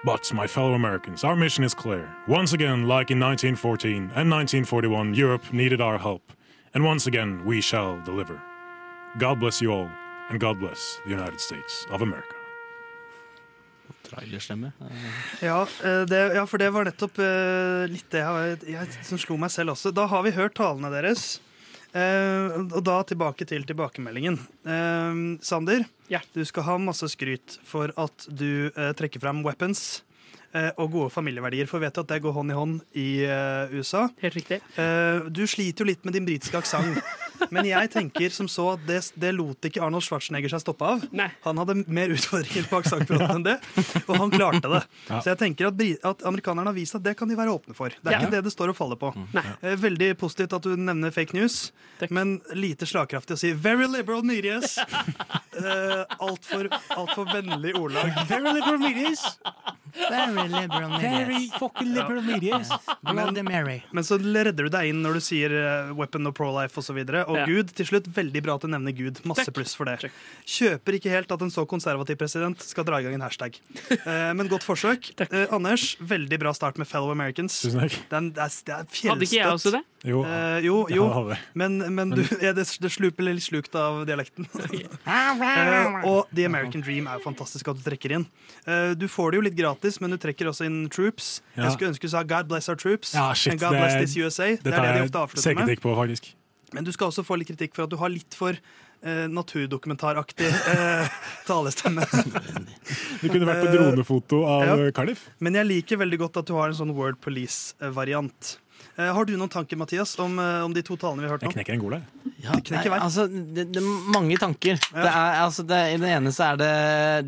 S3: But, my fellow Americans, our mission is clear. Once again, like in 1914 and 1941, Europe needed our help. And once again, we shall deliver. God bless you all, and God bless the United States of America.
S2: Trailerstemme.
S16: Ja, eh, det, ja, for det var nettopp eh, litt det jeg, jeg, som slo meg selv også. Da har vi hørt talene deres. Eh, og da tilbake til tilbakemeldingen. Eh, Sander, du skal ha masse skryt for at du eh, trekker fram weapons eh, og gode familieverdier. For vi vet jo at det går hånd i hånd i eh, USA.
S4: Helt riktig.
S16: Eh, du sliter jo litt med din britiske aksent. Men jeg tenker som så at det, det lot ikke Arnold Schwarzenegger seg stoppe av. Han hadde mer utfordringer på aksentfronten enn det, og han klarte det.
S1: Ja.
S16: Så jeg tenker at, bri- at amerikanerne har vist at det kan de være åpne for. Det er
S1: Ja.
S16: ikke det det står og faller på. Eh, Veldig positivt at du nevner fake news, men lite slagkraftig å si 'very liberal medias'. Uh, Altfor alt for vennlig ordlag.
S1: Very liberal medias.
S16: Very liberal
S1: medias. Very fucking liberal medias. Bloody Mary.
S16: men så redder du deg inn når du sier eh, weapon og pro-life osv. Og, så videre. og
S1: Ja.
S16: Gud, til slutt, veldig bra at du nevner Gud. Masse pluss for det. Kjøper ikke helt at en så konservativ president skal dra i gang en hashtag. Eh, men godt forsøk. Eh, Anders, veldig bra start med fellow Americans.
S3: Tusen takk.
S16: Den, det er, det er
S4: Hadde ikke jeg også det?
S3: Jo.
S16: Eh, jo, jo.
S3: Ja, det hadde jeg.
S16: men men du, ja, det, det sluper litt slukt av dialekten. Eh, og The American Dream er jo fantastisk at du trekker inn. Eh, du får det jo litt gratis, men du trekker også inn Troops.
S3: Ja.
S16: Jeg skulle ønske du sa God bless our troops
S3: Ja, shit,
S16: and God
S3: det-
S16: bless this USA. Det,
S3: det
S16: er det
S3: tar
S16: de
S3: jeg
S16: ofte avslutter med.
S3: selvkritikk på, faktisk.
S16: Men du skal også få litt kritikk for at du har litt for eh, naturdokumentaraktig eh, talestemme.
S3: Du kunne vært på dronefoto av
S16: Ja.
S3: eh, Cardiff.
S16: Men jeg liker veldig godt at du har en sånn Word Police-variant. Eh, har du noen tanker, Mathias, om, eh, om de to talene vi har hørt nå? Jeg
S3: knekker en god der.
S2: Ja, nei, altså, det, det er mange tanker. Det er, altså, det, I den ene så er det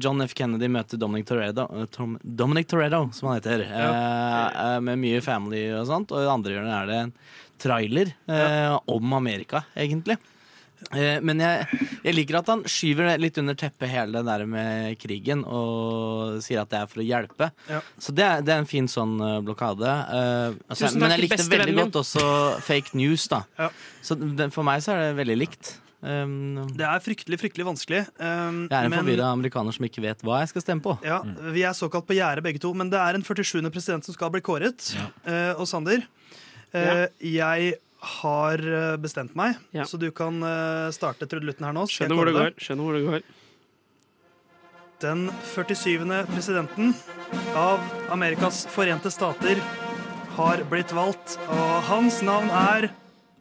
S2: John F. Kennedy møter Dominic Toretto, eh, Tom, Dominic Toretto som han heter. eh, eh, med mye family og sånt. Og i det andre hjørnet er det en trailer eh, om Amerika, egentlig. Eh, Men jeg, jeg liker at han skyver det litt under teppet hele det der med krigen og sier at det er for å hjelpe.
S16: Ja.
S2: Så det er, det er en fin sånn eh, blokade. Eh, altså,
S4: Tusen
S2: men
S4: takk,
S2: jeg likte
S4: bestevennen
S2: veldig
S4: min.
S2: godt også fake news, da. Så den, for meg så er det veldig likt. Um,
S16: Det er fryktelig, fryktelig vanskelig. Um,
S2: jeg er en
S16: men-
S2: forvirra amerikaner som ikke vet hva jeg skal stemme på.
S16: Ja, Vi er såkalt på gjerdet begge to, men det er en 47. president som skal bli kåret. Eh, og Sander, eh, jeg har eh, bestemt meg, så du kan eh, starte trudelutten her nå. så skal
S4: Skjønner
S16: jeg
S4: hvor det
S16: kåre
S4: går. Skjønner hvor det går.
S16: Den 47. presidenten av Amerikas forente stater har blitt valgt, og hans navn er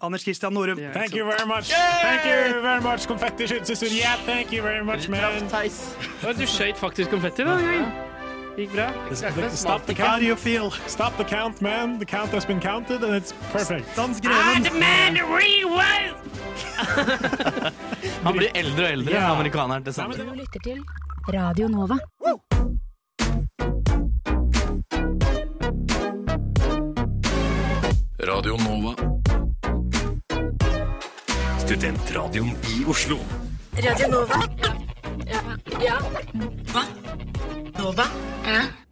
S16: Anders Christian Norum.
S3: Thank you very much. Thank you very much. Konfetti skytes i studio. Yeah, thank you very much, man.
S4: Å, Du skøyt faktisk konfetti da. Det gikk bra.
S3: Stop the count.
S4: How do you
S16: feel?
S3: Stop the count, man. The count has been counted, and it's perfect.
S16: Stans
S2: Han blir eldre og eldre,
S3: Ja.
S2: amerikaneren til sammen.
S5: Du lytter til Radio Nova.
S12: Radio Nova. Studentradioen i Oslo.
S5: Radio Nova. Ja. Hva? Nova? Ja.